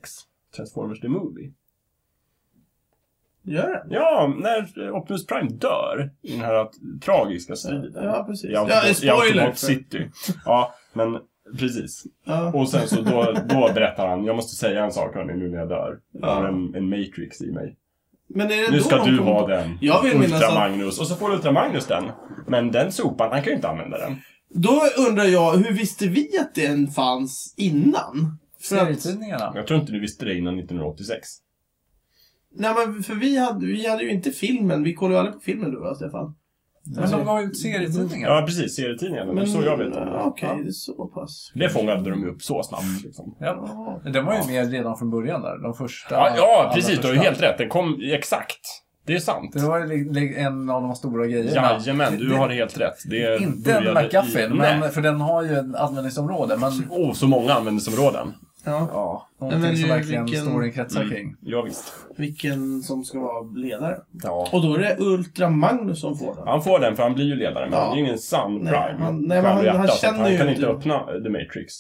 Speaker 3: Transformers the Movie.
Speaker 1: Gör det?
Speaker 3: Ja, när Optimus Prime dör i den här tragiska striden.
Speaker 1: Ja, precis.
Speaker 3: I
Speaker 1: Ja,
Speaker 3: Autobot, i
Speaker 1: spoiler!
Speaker 3: Autobot
Speaker 1: För,
Speaker 3: City. Ja, men precis.
Speaker 1: ja.
Speaker 3: Och sen så då, då berättar han, jag måste säga en sak hörni nu när jag dör. Jag har
Speaker 1: Ja.
Speaker 3: en, en matrix i mig.
Speaker 1: Men är det
Speaker 3: Nu
Speaker 1: då
Speaker 3: ska
Speaker 1: de
Speaker 3: du
Speaker 1: kommer
Speaker 3: ha
Speaker 1: på-
Speaker 3: den.
Speaker 1: Jag vill minnas
Speaker 3: Ultra
Speaker 1: att-
Speaker 3: Magnus. Och så får Ultra Magnus den. Men den sopan, han kan ju inte använda den.
Speaker 1: Då undrar jag, hur visste vi att den fanns innan? För att,
Speaker 2: Serietidningarna.
Speaker 3: Jag tror inte du visste det innan 1986.
Speaker 1: nej men för vi hade, vi hade ju inte filmen, vi kollade ju aldrig på filmen du va, Stefan?
Speaker 2: Men de gav ut serietidningar.
Speaker 3: Ja precis, serietidningarna. Det är så jag vet.
Speaker 1: ja, Mm, Okej,
Speaker 2: Ja.
Speaker 1: det är så pass.
Speaker 3: Det fångade de ju upp så snabbt. Liksom.
Speaker 2: Ja.
Speaker 1: Ja.
Speaker 2: Men Den var ju med redan från början där. De första.
Speaker 3: Ja, ja
Speaker 2: allra
Speaker 3: precis, du har ju
Speaker 2: första.
Speaker 3: helt rätt. Den kom exakt Det är sant.
Speaker 2: Det var li- li- en av de stora grejerna.
Speaker 3: Jajamän, du
Speaker 2: Det-
Speaker 3: har helt rätt. Det
Speaker 2: Inte en
Speaker 3: började i-
Speaker 2: McGuffin,
Speaker 3: Nej.
Speaker 2: men, för den har ju ett användningsområde. Men
Speaker 3: Åh, så många användningsområden.
Speaker 1: Ja.
Speaker 2: ja,
Speaker 1: Nej, men
Speaker 2: någonting som
Speaker 1: ju
Speaker 2: verkligen
Speaker 1: vilken-
Speaker 2: storyn kretsar kring.
Speaker 3: Ja, visst.
Speaker 1: Vilken som ska vara ledare.
Speaker 3: Ja.
Speaker 1: Och då är det Ultra Magnus som får den.
Speaker 3: Han får den för han blir ju ledare, men
Speaker 1: Ja.
Speaker 3: han är ju ingen sann
Speaker 1: Nej,
Speaker 3: prime.
Speaker 1: han- nej, men han-
Speaker 3: Stjärnhjärta,
Speaker 1: han
Speaker 3: så att
Speaker 1: känner
Speaker 3: han
Speaker 1: ju
Speaker 3: kan
Speaker 1: inte-
Speaker 3: inte öppna The Matrix.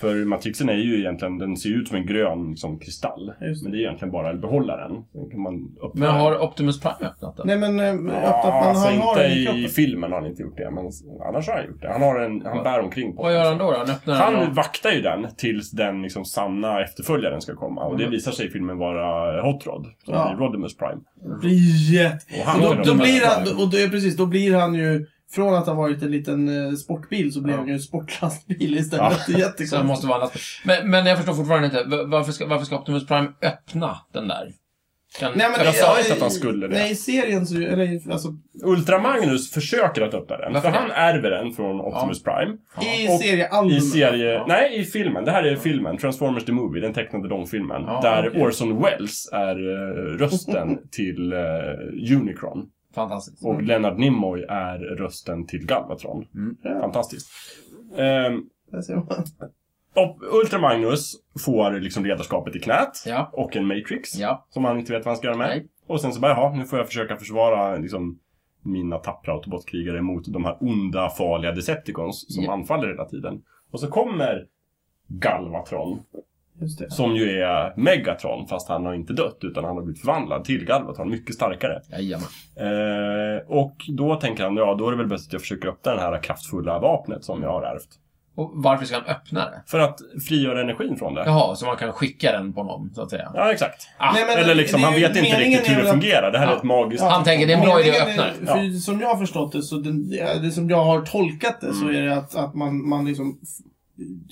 Speaker 3: För matrixen är ju egentligen, den ser ju ut som en grön liksom, kristall.
Speaker 1: Just det.
Speaker 3: Men det är egentligen bara att behålla den. Sen kan man öppna
Speaker 4: Men
Speaker 3: den.
Speaker 4: har Optimus Prime öppnat den?
Speaker 1: Nej men eh,
Speaker 3: Ja,
Speaker 1: att att man
Speaker 3: alltså
Speaker 1: har, har den i
Speaker 3: inte i
Speaker 1: kroppen.
Speaker 3: filmen har han inte gjort det, men annars har han gjort det. Han, har en, han bär omkring på
Speaker 4: Vad gör han då? då? Han öppnar
Speaker 3: Han
Speaker 4: den och...
Speaker 3: vaktar ju den tills den liksom sanna efterföljaren ska komma. Och det
Speaker 4: Mm.
Speaker 3: visar sig i filmen vara Hot Rod, som
Speaker 1: Ja.
Speaker 3: blir Rodimus Prime.
Speaker 1: Det blir jätte...
Speaker 3: Och han
Speaker 1: Då,
Speaker 3: är
Speaker 1: då,
Speaker 3: Rodimus
Speaker 1: blir han,
Speaker 3: Prime.
Speaker 1: och då, ja, precis, då blir han ju... Från att ha varit en liten eh, sportbil så blir
Speaker 3: Ja.
Speaker 1: han ju en sportlastbil istället. Det
Speaker 3: Ja.
Speaker 1: är
Speaker 4: Så han
Speaker 1: jättekonstigt.
Speaker 4: måste vara annat. Men, men jag förstår fortfarande inte. v- Varför ska, varför ska Optimus Prime öppna den där? Kan,
Speaker 1: Nej, men
Speaker 3: Jag sa
Speaker 1: ja,
Speaker 3: inte att han
Speaker 1: i-
Speaker 3: skulle det.
Speaker 1: Nej, i serien så... Eller, alltså,
Speaker 3: Ultramagnus försöker att öppna den.
Speaker 4: Varför
Speaker 3: för
Speaker 4: det?
Speaker 3: han ärver den från Optimus Prime.
Speaker 1: I
Speaker 3: Och
Speaker 1: seriealbumet.
Speaker 3: I serie... Nej, i filmen. Det här är filmen. Transformers the Movie, den tecknade långfilmen.
Speaker 4: Ja,
Speaker 3: där
Speaker 4: okej.
Speaker 3: Orson Welles är eh, rösten till eh, Unicron.
Speaker 4: Fantastiskt.
Speaker 3: Och Leonard Nimoy är rösten till Galvatron.
Speaker 4: Mm.
Speaker 1: Ja,
Speaker 3: Fantastiskt. Ehm,
Speaker 1: där ser man.
Speaker 3: Och Ultramagnus får liksom ledarskapet i knät.
Speaker 4: Ja.
Speaker 3: Och en Matrix.
Speaker 4: Ja.
Speaker 3: Som han inte vet vad han ska göra med.
Speaker 4: Nej.
Speaker 3: Och sen så bara, jaha, nu får jag försöka försvara liksom, mina tappra autobotkrigare mot de här onda, farliga Decepticons som
Speaker 4: Ja.
Speaker 3: anfaller hela tiden. Och så kommer Galvatron,
Speaker 1: Just det.
Speaker 3: som ju är Megatron, fast han har inte dött utan han har blivit förvandlad till Galvatron, mycket starkare.
Speaker 4: Jajamän.
Speaker 3: Eh, och då tänker han, ja då är det väl bäst att jag försöker öppna det här kraftfulla vapnet som jag har ärvt.
Speaker 4: Och varför ska han öppna det?
Speaker 3: För att frigöra energin från det.
Speaker 4: Jaha, så man kan skicka den på någon, så att säga.
Speaker 3: Ja, exakt.
Speaker 4: Ah,
Speaker 1: Nej, men
Speaker 3: Eller liksom,
Speaker 1: det är
Speaker 3: han
Speaker 1: ju-
Speaker 3: vet inte
Speaker 1: meningen
Speaker 3: riktigt hur
Speaker 1: är
Speaker 3: det
Speaker 1: väl att-
Speaker 3: fungerar. Det här är
Speaker 4: Ja.
Speaker 3: ett magiskt...
Speaker 4: Han tänker, det är en bra idé att
Speaker 1: Meningen
Speaker 4: öppna
Speaker 1: är-
Speaker 4: den.
Speaker 1: För Som jag har förstått det, så den, det det som jag har tolkat det,
Speaker 3: Mm.
Speaker 1: så är det att, att man, man liksom f-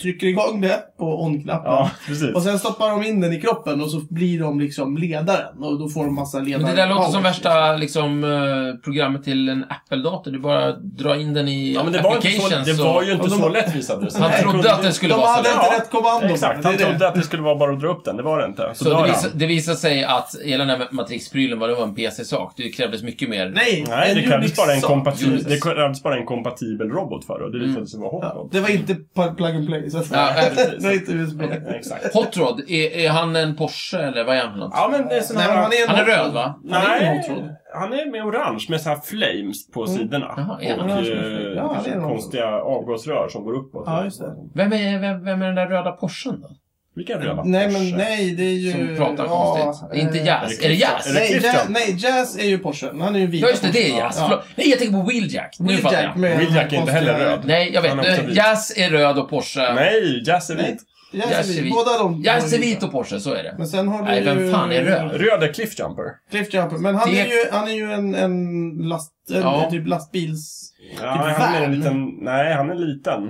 Speaker 1: trycker igång det på on-knappen.
Speaker 3: Ja, precis.
Speaker 1: Och sen stoppar de in den i kroppen och så blir de liksom ledaren. Och då får de massa ledare.
Speaker 4: Men det där låter som värsta liksom, eh, programmet till en Apple-dator. Du bara drar in den i
Speaker 3: Ja, men det var, inte så,
Speaker 4: applications
Speaker 3: det var
Speaker 4: och-
Speaker 3: ju inte
Speaker 1: och de-
Speaker 3: så lätt visade det sig.
Speaker 4: Han
Speaker 3: Han
Speaker 4: trodde
Speaker 3: kunde-
Speaker 4: att den skulle
Speaker 1: De
Speaker 4: vara så
Speaker 1: hade
Speaker 4: lätt.
Speaker 1: inte
Speaker 3: Ja,
Speaker 1: rätt kommando.
Speaker 3: Exakt,
Speaker 1: det är
Speaker 3: han
Speaker 1: det.
Speaker 3: trodde att det skulle vara bara att dra upp den. Det var det inte. Så,
Speaker 4: Så
Speaker 3: dör
Speaker 4: det,
Speaker 3: han.
Speaker 4: vis, det visar sig att hela den här Matrix-prylen var det var en PC-sak. Det krävdes mycket mer.
Speaker 1: Nej,
Speaker 3: Nej, det krävdes, bara en
Speaker 1: Unix-sak.
Speaker 3: kompatibel,
Speaker 4: Unix.
Speaker 3: det krävdes bara en kompatibel robot för det. Och det visade sig vara
Speaker 1: Mm. Ja,
Speaker 3: Hot
Speaker 1: det var inte pa- plug and play, så att
Speaker 4: Ja,
Speaker 1: säga.
Speaker 4: precis.
Speaker 1: det var inte USB.
Speaker 3: Rod. Exakt.
Speaker 4: Hot Rod, är, är han en Porsche eller vad är han för något?
Speaker 3: Ja, men det är sån
Speaker 1: Nej,
Speaker 3: här...
Speaker 1: men han är, en
Speaker 4: Han är
Speaker 1: hot-
Speaker 4: röd, va?
Speaker 1: Han är Mm. ingen
Speaker 3: Nej,
Speaker 1: hot rod.
Speaker 3: han är med orange med så här flames på sidorna.
Speaker 4: Jaha, är han
Speaker 3: och
Speaker 1: orange med
Speaker 3: eh,
Speaker 1: flames? Ja,
Speaker 3: liksom
Speaker 1: det är han.
Speaker 3: konstiga avgasrör som går uppåt.
Speaker 1: Ja, just det.
Speaker 4: Vem är, vem, vem är den där röda Porschen då?
Speaker 3: Vilka röda
Speaker 1: Nej,
Speaker 3: Porsche?
Speaker 1: men nej, det är ju...
Speaker 4: Som pratar
Speaker 1: ja,
Speaker 4: konstigt. Det är inte
Speaker 1: eh,
Speaker 4: Jazz. Är det Jazz?
Speaker 3: Är det
Speaker 1: Nej,
Speaker 3: Christian?
Speaker 1: jazz, nej, Jazz är ju Porsche. Han är ju vit.
Speaker 4: Ja, just det, det är Jazz.
Speaker 1: Ja.
Speaker 4: Förlåt. Nej, jag tänker på Wheeljack. Nu
Speaker 1: Wheeljack
Speaker 4: fattar jag.
Speaker 1: med
Speaker 3: Wheeljack är inte
Speaker 1: konstiga-
Speaker 3: heller röd.
Speaker 4: Nej, jag
Speaker 3: Han är
Speaker 4: vet.
Speaker 3: också
Speaker 4: Eh,
Speaker 3: vit.
Speaker 4: Jazz är röd och Porsche.
Speaker 3: Nej, Jazz är vit.
Speaker 1: Jazz är vit.
Speaker 4: vit.
Speaker 1: Båda de.
Speaker 4: Jazz är vit och Porsche, så är det.
Speaker 1: Men sen har du
Speaker 4: Nej, vem
Speaker 1: ju-
Speaker 4: fan är röd?
Speaker 3: Röd är Cliffjumper.
Speaker 1: Cliff Jumper. Men han
Speaker 4: Det-
Speaker 1: är ju, han är ju en, en last... En,
Speaker 4: Ja.
Speaker 1: typ lastbils...
Speaker 3: Ja,
Speaker 1: Typ
Speaker 3: han är en
Speaker 1: fan.
Speaker 3: liten... Nej, han är liten.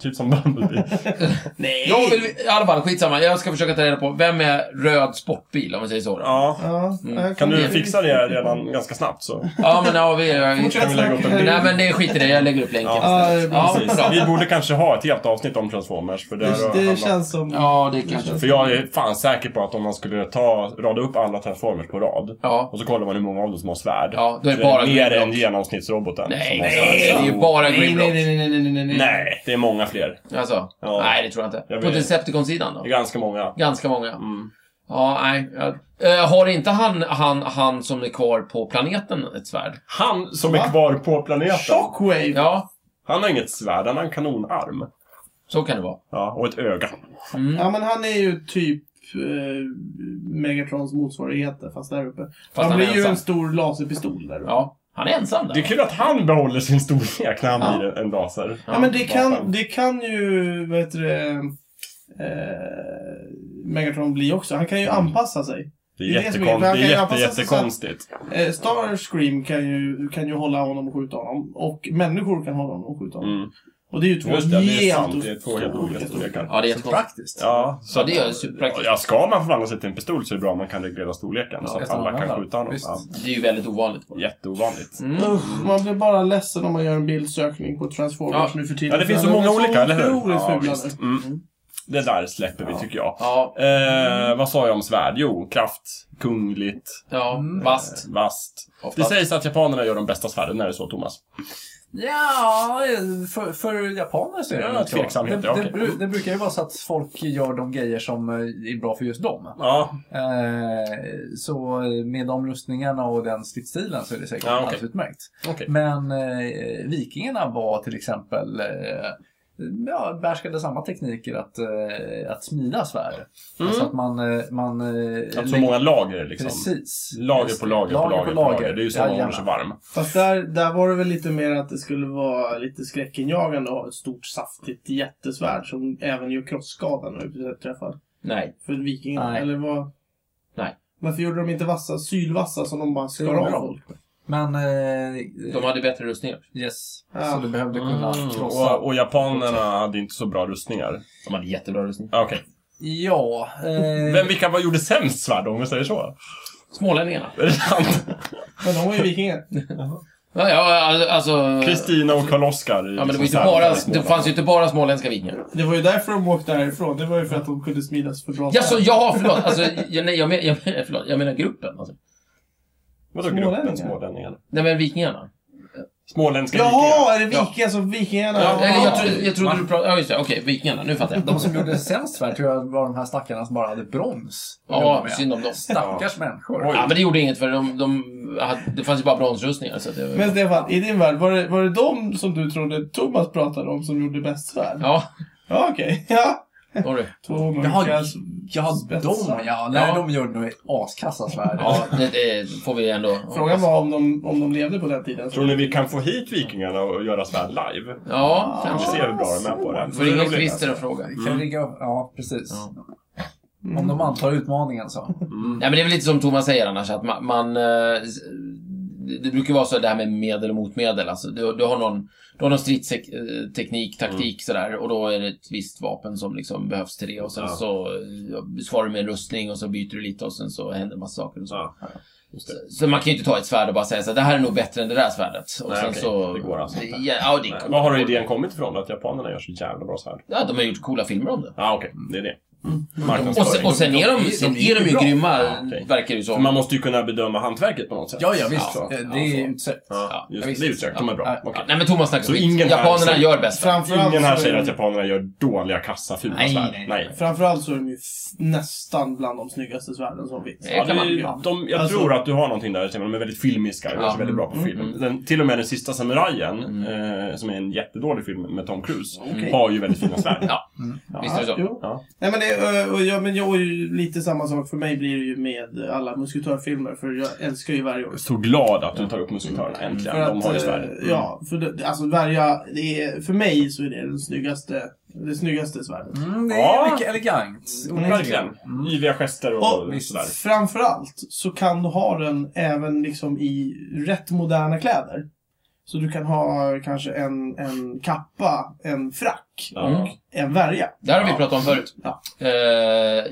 Speaker 3: Typ som Bumblebee.
Speaker 1: Nej!
Speaker 4: Jag vill, I alla fall, skitsamma. Jag ska försöka ta reda på vem är röd sportbil, om vi säger så. Då.
Speaker 3: ja.
Speaker 1: Ja,
Speaker 4: Mm.
Speaker 1: här
Speaker 3: Kan du
Speaker 1: kommer-
Speaker 3: fixa det redan ganska snabbt så?
Speaker 4: Ja, men ja, vi...
Speaker 1: Fortsätt
Speaker 3: Kan vi lägga upp en bild?
Speaker 4: Nej, men det skiter i det. Jag lägger upp länken.
Speaker 3: Ja.
Speaker 1: Ja, det-
Speaker 4: Ja,
Speaker 3: Precis.
Speaker 4: bra.
Speaker 3: Vi borde kanske ha ett helt avsnitt om Transformers. För, det har
Speaker 1: det, det
Speaker 3: handlat-
Speaker 1: känns som...
Speaker 4: Ja, det kanske...
Speaker 3: för jag är fan säker på att om man skulle ta, rada upp alla Transformers på rad
Speaker 4: Ja.
Speaker 3: och så kollar man hur många av dem som har svärd.
Speaker 4: Ja, då är det
Speaker 3: så
Speaker 4: bara
Speaker 3: mer
Speaker 4: Grimlock.
Speaker 3: än genomsnittsroboten.
Speaker 4: Nej,
Speaker 3: som har
Speaker 4: nej, det
Speaker 3: svärd.
Speaker 4: är ju bara
Speaker 1: Nej,
Speaker 4: Grimlock.
Speaker 1: nej, nej, nej, nej, nej, nej.
Speaker 3: Nej, det är många fler.
Speaker 4: Alltså?
Speaker 3: Ja.
Speaker 4: Nej, det tror jag inte.
Speaker 3: Jag
Speaker 4: På
Speaker 3: vet.
Speaker 4: Decepticon-sidan då?
Speaker 3: Det är ganska många.
Speaker 4: Ganska många.
Speaker 3: Mm.
Speaker 4: Ja, nej. jag- Eh, har inte han, han, han som är kvar på planeten ett svärd?
Speaker 3: Han som
Speaker 1: Va?
Speaker 3: är kvar på planeten,
Speaker 1: Shockwave!
Speaker 4: Ja,
Speaker 3: han har inget svärd, han har en kanonarm.
Speaker 4: så kan det vara. Mm.
Speaker 3: Ja, och ett öga.
Speaker 1: Ja, men han är ju typ eh, Megatrons motsvarighet där, fast där uppe. han,
Speaker 4: han
Speaker 1: blir
Speaker 4: är
Speaker 1: ju
Speaker 4: ensam.
Speaker 1: en stor laserpistol där uppe. Ja.
Speaker 4: Ja, han är ensam där.
Speaker 3: Det är kul att han behåller sin storlek när han
Speaker 4: Ja.
Speaker 3: blir en laser.
Speaker 1: ja, men det kan,
Speaker 3: vapen.
Speaker 1: det kan ju, vad heter det, eh, Megatron bli också. Han kan ju
Speaker 3: Mm.
Speaker 1: anpassa sig.
Speaker 3: Det
Speaker 1: det är
Speaker 3: är
Speaker 1: det som är grejen, för
Speaker 3: jättekon- det
Speaker 1: han
Speaker 3: är
Speaker 1: kan ju
Speaker 3: jätte,
Speaker 1: anpassa sig så-
Speaker 3: jättekonstigt.
Speaker 1: Eh, Starscream kan ju, kan ju hålla honom och skjuta honom. Och människor kan hålla honom och skjuta honom.
Speaker 3: Mm.
Speaker 1: Och det är ju två
Speaker 3: Just det, det är sant.
Speaker 1: och-
Speaker 3: Det är två helt olika storlekar.
Speaker 4: Ja, det är helt konstigt.
Speaker 2: Praktiskt.
Speaker 3: Ja, så
Speaker 4: Ja, det är
Speaker 3: att-
Speaker 4: superpraktiskt.
Speaker 3: Ja, ska man förvandla sig till en pistol så är det bra om man kan reglera storleken så att
Speaker 2: ska man
Speaker 3: alla kan
Speaker 2: använda?
Speaker 3: skjuta honom.
Speaker 2: Visst.
Speaker 3: Ja,
Speaker 4: Det är ju väldigt ovanligt.
Speaker 3: jätteovanligt.
Speaker 1: Mm. Usch, man blir bara ledsen om man gör en bildsökning på Transformers
Speaker 4: Ja.
Speaker 1: nu för tiden.
Speaker 3: Ja, det finns så
Speaker 1: Den är
Speaker 3: många olika, eller hur?
Speaker 1: otroligt
Speaker 3: Ja,
Speaker 1: fula nu.
Speaker 3: visst. Mm. det där släpper vi tycker jag.
Speaker 4: Ja,
Speaker 3: Eh, vad sa jag om svärd? Jo, kraft, kungligt,
Speaker 4: ja, vast.
Speaker 3: eh, vasst. Det
Speaker 4: Oftast.
Speaker 3: sägs att japanerna gör de bästa svärden, är det så Thomas?
Speaker 2: Ja, för, för japaner så är det
Speaker 3: Ja,
Speaker 2: nog så.
Speaker 3: tveksamheter,
Speaker 2: det, det,
Speaker 3: okej.
Speaker 2: bru- det brukar ju vara så att folk gör de grejer som eh, är bra för just dem.
Speaker 3: Ja,
Speaker 2: Eh, så med de rustningarna och den stridsstilen så är det säkert
Speaker 3: Ja, okej.
Speaker 2: alldeles utmärkt.
Speaker 3: okej.
Speaker 2: Men eh, vikingarna var till exempel eh, Ja, behärskade samma tekniker att, eh, att smida svärd.
Speaker 3: Mm.
Speaker 2: Alltså att man... eh, man eh,
Speaker 3: Att så många lager liksom.
Speaker 2: Precis.
Speaker 3: Lager
Speaker 2: Just
Speaker 3: på
Speaker 2: det.
Speaker 3: lager, på lager på lager. Det är ju så man håller
Speaker 2: Jajamän.
Speaker 3: sig varm.
Speaker 1: Fast där, där var det väl lite mer att det skulle vara lite skräckinjagande att ha ett stort saftigt jättesvärd som även gör krossskada när du träffar.
Speaker 4: Nej.
Speaker 1: För vikingarna,
Speaker 2: Nej.
Speaker 1: eller vad?
Speaker 4: Nej.
Speaker 1: Varför gjorde de inte vassa, sylvassa som de bara skar
Speaker 2: gjorde
Speaker 1: av
Speaker 2: de.
Speaker 1: folk?
Speaker 2: Men... Eh,
Speaker 4: De hade bättre rustningar.
Speaker 2: Yes.
Speaker 1: Ja.
Speaker 2: Så du behövde kunna
Speaker 4: Ah.
Speaker 3: Mm.
Speaker 2: krossa.
Speaker 3: Och, och japanerna hade inte så bra rustningar.
Speaker 4: De hade jättebra rustningar.
Speaker 3: Ah, Okej.
Speaker 2: Ja. Eh,
Speaker 3: Vem, vilka var gjorde sämst svärd om vi säger så?
Speaker 4: Smålänningarna.
Speaker 3: Är det sant?
Speaker 1: Men de var ju vikingar.
Speaker 4: Ja, ja alltså...
Speaker 3: Kristina och Karl-Oskar. liksom
Speaker 4: Ja, men det, var ju inte bara, det fanns ju inte bara småländska vikingar.
Speaker 1: Det var ju därför de åkte därifrån. Det var ju för att de kunde smidas för bra.
Speaker 4: Jaså, ja, förlåt. Alltså, jag, nej, jag, men, jag, men, förlåt. jag menar gruppen. Alltså.
Speaker 3: Vadå
Speaker 1: Smålänningar?
Speaker 3: gruppen smålänningar?
Speaker 4: Nej, men vikingarna.
Speaker 3: Småländska
Speaker 1: Jaha, är det vikingar som vikingarna?
Speaker 4: Ja, eller jag, trodde, jag trodde
Speaker 2: Man-
Speaker 4: du pratade... Ja, just det. Okej, vikingarna. Nu fattar jag.
Speaker 2: De som gjorde sämst svärd tror jag var de här stackarna som bara hade brons. att jobba
Speaker 4: Ja,
Speaker 2: med.
Speaker 4: synd om dem.
Speaker 2: Stackars människor.
Speaker 4: Ja, men det gjorde inget för de, de hade, det fanns ju bara bronsrustningar. Så att det,
Speaker 1: Men Stefan, i din värld, var det, var det de som du trodde Thomas pratade om som gjorde bäst svärd?
Speaker 4: ja,
Speaker 1: Ja, okej. Ja.
Speaker 4: sorry.
Speaker 1: Två mörka...
Speaker 2: Jaha, ja, de ja. Nej, de gjorde nog askassa svärd.
Speaker 4: Ja, det, det får vi ändå...
Speaker 1: Frågan var om de, om de levde på den tiden.
Speaker 3: Tror ni vi kan få hit vikingarna och göra svärd live?
Speaker 4: Ja,
Speaker 3: Vi
Speaker 4: kanske.
Speaker 3: ser hur bra de är på det.
Speaker 4: Får
Speaker 3: Det är
Speaker 4: ringa
Speaker 3: roligt,
Speaker 4: Christer och
Speaker 3: alltså.
Speaker 4: fråga.
Speaker 2: Kan vi ringa upp? Ja, precis.
Speaker 4: Ja.
Speaker 1: Mm.
Speaker 2: Om de antar utmaningen så.
Speaker 3: Mm.
Speaker 4: Nej, men det är väl lite som Thomas säger annars, att man... man eh, det- det brukar vara så det här med medel och motmedel. Alltså, du, du har någon, du har någon stridsteknik,
Speaker 3: Mm.
Speaker 4: taktik sådär och då är det ett visst vapen som liksom behövs till det och sen
Speaker 3: Ja.
Speaker 4: så eh, svarar du med en rustning och så byter du lite och sen så händer en massa saker och så.
Speaker 3: Ja.
Speaker 4: Så- Så man kan ju inte ta ett svärd och bara säga så här, det här är nog bättre än det där svärdet. Och
Speaker 3: Nej,
Speaker 4: sen
Speaker 3: okej.
Speaker 4: så...
Speaker 3: Det går alltså inte.
Speaker 4: Ja, ja, det
Speaker 3: Nej,
Speaker 4: går.
Speaker 3: Var har idén kommit ifrån då? Att japanerna gör så jävla bra svärd?
Speaker 4: Ja, de har gjort coola filmer om det.
Speaker 3: Ja, ah, okej. Det är det.
Speaker 4: Mm. Och sen,
Speaker 3: Marknadsföring.
Speaker 4: och sen är de,
Speaker 2: De-
Speaker 4: sen
Speaker 2: de
Speaker 4: är
Speaker 2: gick
Speaker 4: de ju
Speaker 2: bra.
Speaker 4: grymma,
Speaker 3: Ja, okej.
Speaker 4: verkar det ju
Speaker 3: För
Speaker 4: som.
Speaker 3: man måste ju kunna bedöma hantverket på något sätt.
Speaker 2: Ja, ja, visst.
Speaker 3: Ja,
Speaker 2: Eh,
Speaker 3: ja,
Speaker 2: det är utsett.
Speaker 3: Ja,
Speaker 4: Ja,
Speaker 3: just
Speaker 4: visst.
Speaker 3: det. Det är utsökt. De är bra.
Speaker 2: Ja.
Speaker 3: Okej.
Speaker 4: Nej men Thomas snackar
Speaker 3: Så
Speaker 4: skit.
Speaker 3: ingen här
Speaker 4: Japanerna
Speaker 3: säger-
Speaker 4: gör bäst.
Speaker 1: Framförallt
Speaker 3: Ingen här
Speaker 1: så är
Speaker 3: säger
Speaker 1: de-
Speaker 3: att japanerna gör dåliga, kassa, fula
Speaker 4: Nej,
Speaker 3: svärd.
Speaker 4: nej,
Speaker 3: Nej.
Speaker 4: nej.
Speaker 1: Framförallt så är de ju f- nästan bland de snyggaste svärden som finns.
Speaker 4: Det
Speaker 3: Ja,
Speaker 4: kan man
Speaker 3: det,
Speaker 4: göra.
Speaker 3: de, jag
Speaker 1: Alltså- Mm.
Speaker 3: tror att du har någonting där, Stefan. de är väldigt filmiska, de
Speaker 4: Ja.
Speaker 3: är väldigt bra på film. Den, till och med den sista samurajen,
Speaker 4: Mm.
Speaker 3: eh, som är en jättedålig film med Tom Cruise,
Speaker 1: Mm. Okej.
Speaker 3: har ju väldigt fina svärd.
Speaker 4: Ja. Visst är det så?
Speaker 1: Jo.
Speaker 3: Ja.
Speaker 1: Nej men det, ö, och, ja, men jag, och ju lite samma sak för mig blir det ju med alla musketörfilmer, för jag älskar ju varje år.
Speaker 3: Så glad att du tar upp musketörerna, äntligen.
Speaker 1: För
Speaker 3: De har ju
Speaker 1: eh,
Speaker 3: svärd. Mm.
Speaker 1: Ja, för det, alltså varje, det är, för mig så är det den snyggaste, det snyggaste svärdet.
Speaker 2: Mm, det är
Speaker 3: Ja.
Speaker 2: mycket elegant.
Speaker 1: Mm.
Speaker 3: Verkligen. Yviga gester och,
Speaker 1: Och
Speaker 3: sådär.
Speaker 1: Framförallt så kan du ha den även liksom i rätt moderna kläder. Så du kan ha kanske en, en kappa, en frack,
Speaker 3: Ja.
Speaker 4: Mm.
Speaker 1: en värja.
Speaker 4: Det här har vi
Speaker 3: Ja.
Speaker 4: pratat om förut.
Speaker 1: Ja.
Speaker 4: Eh,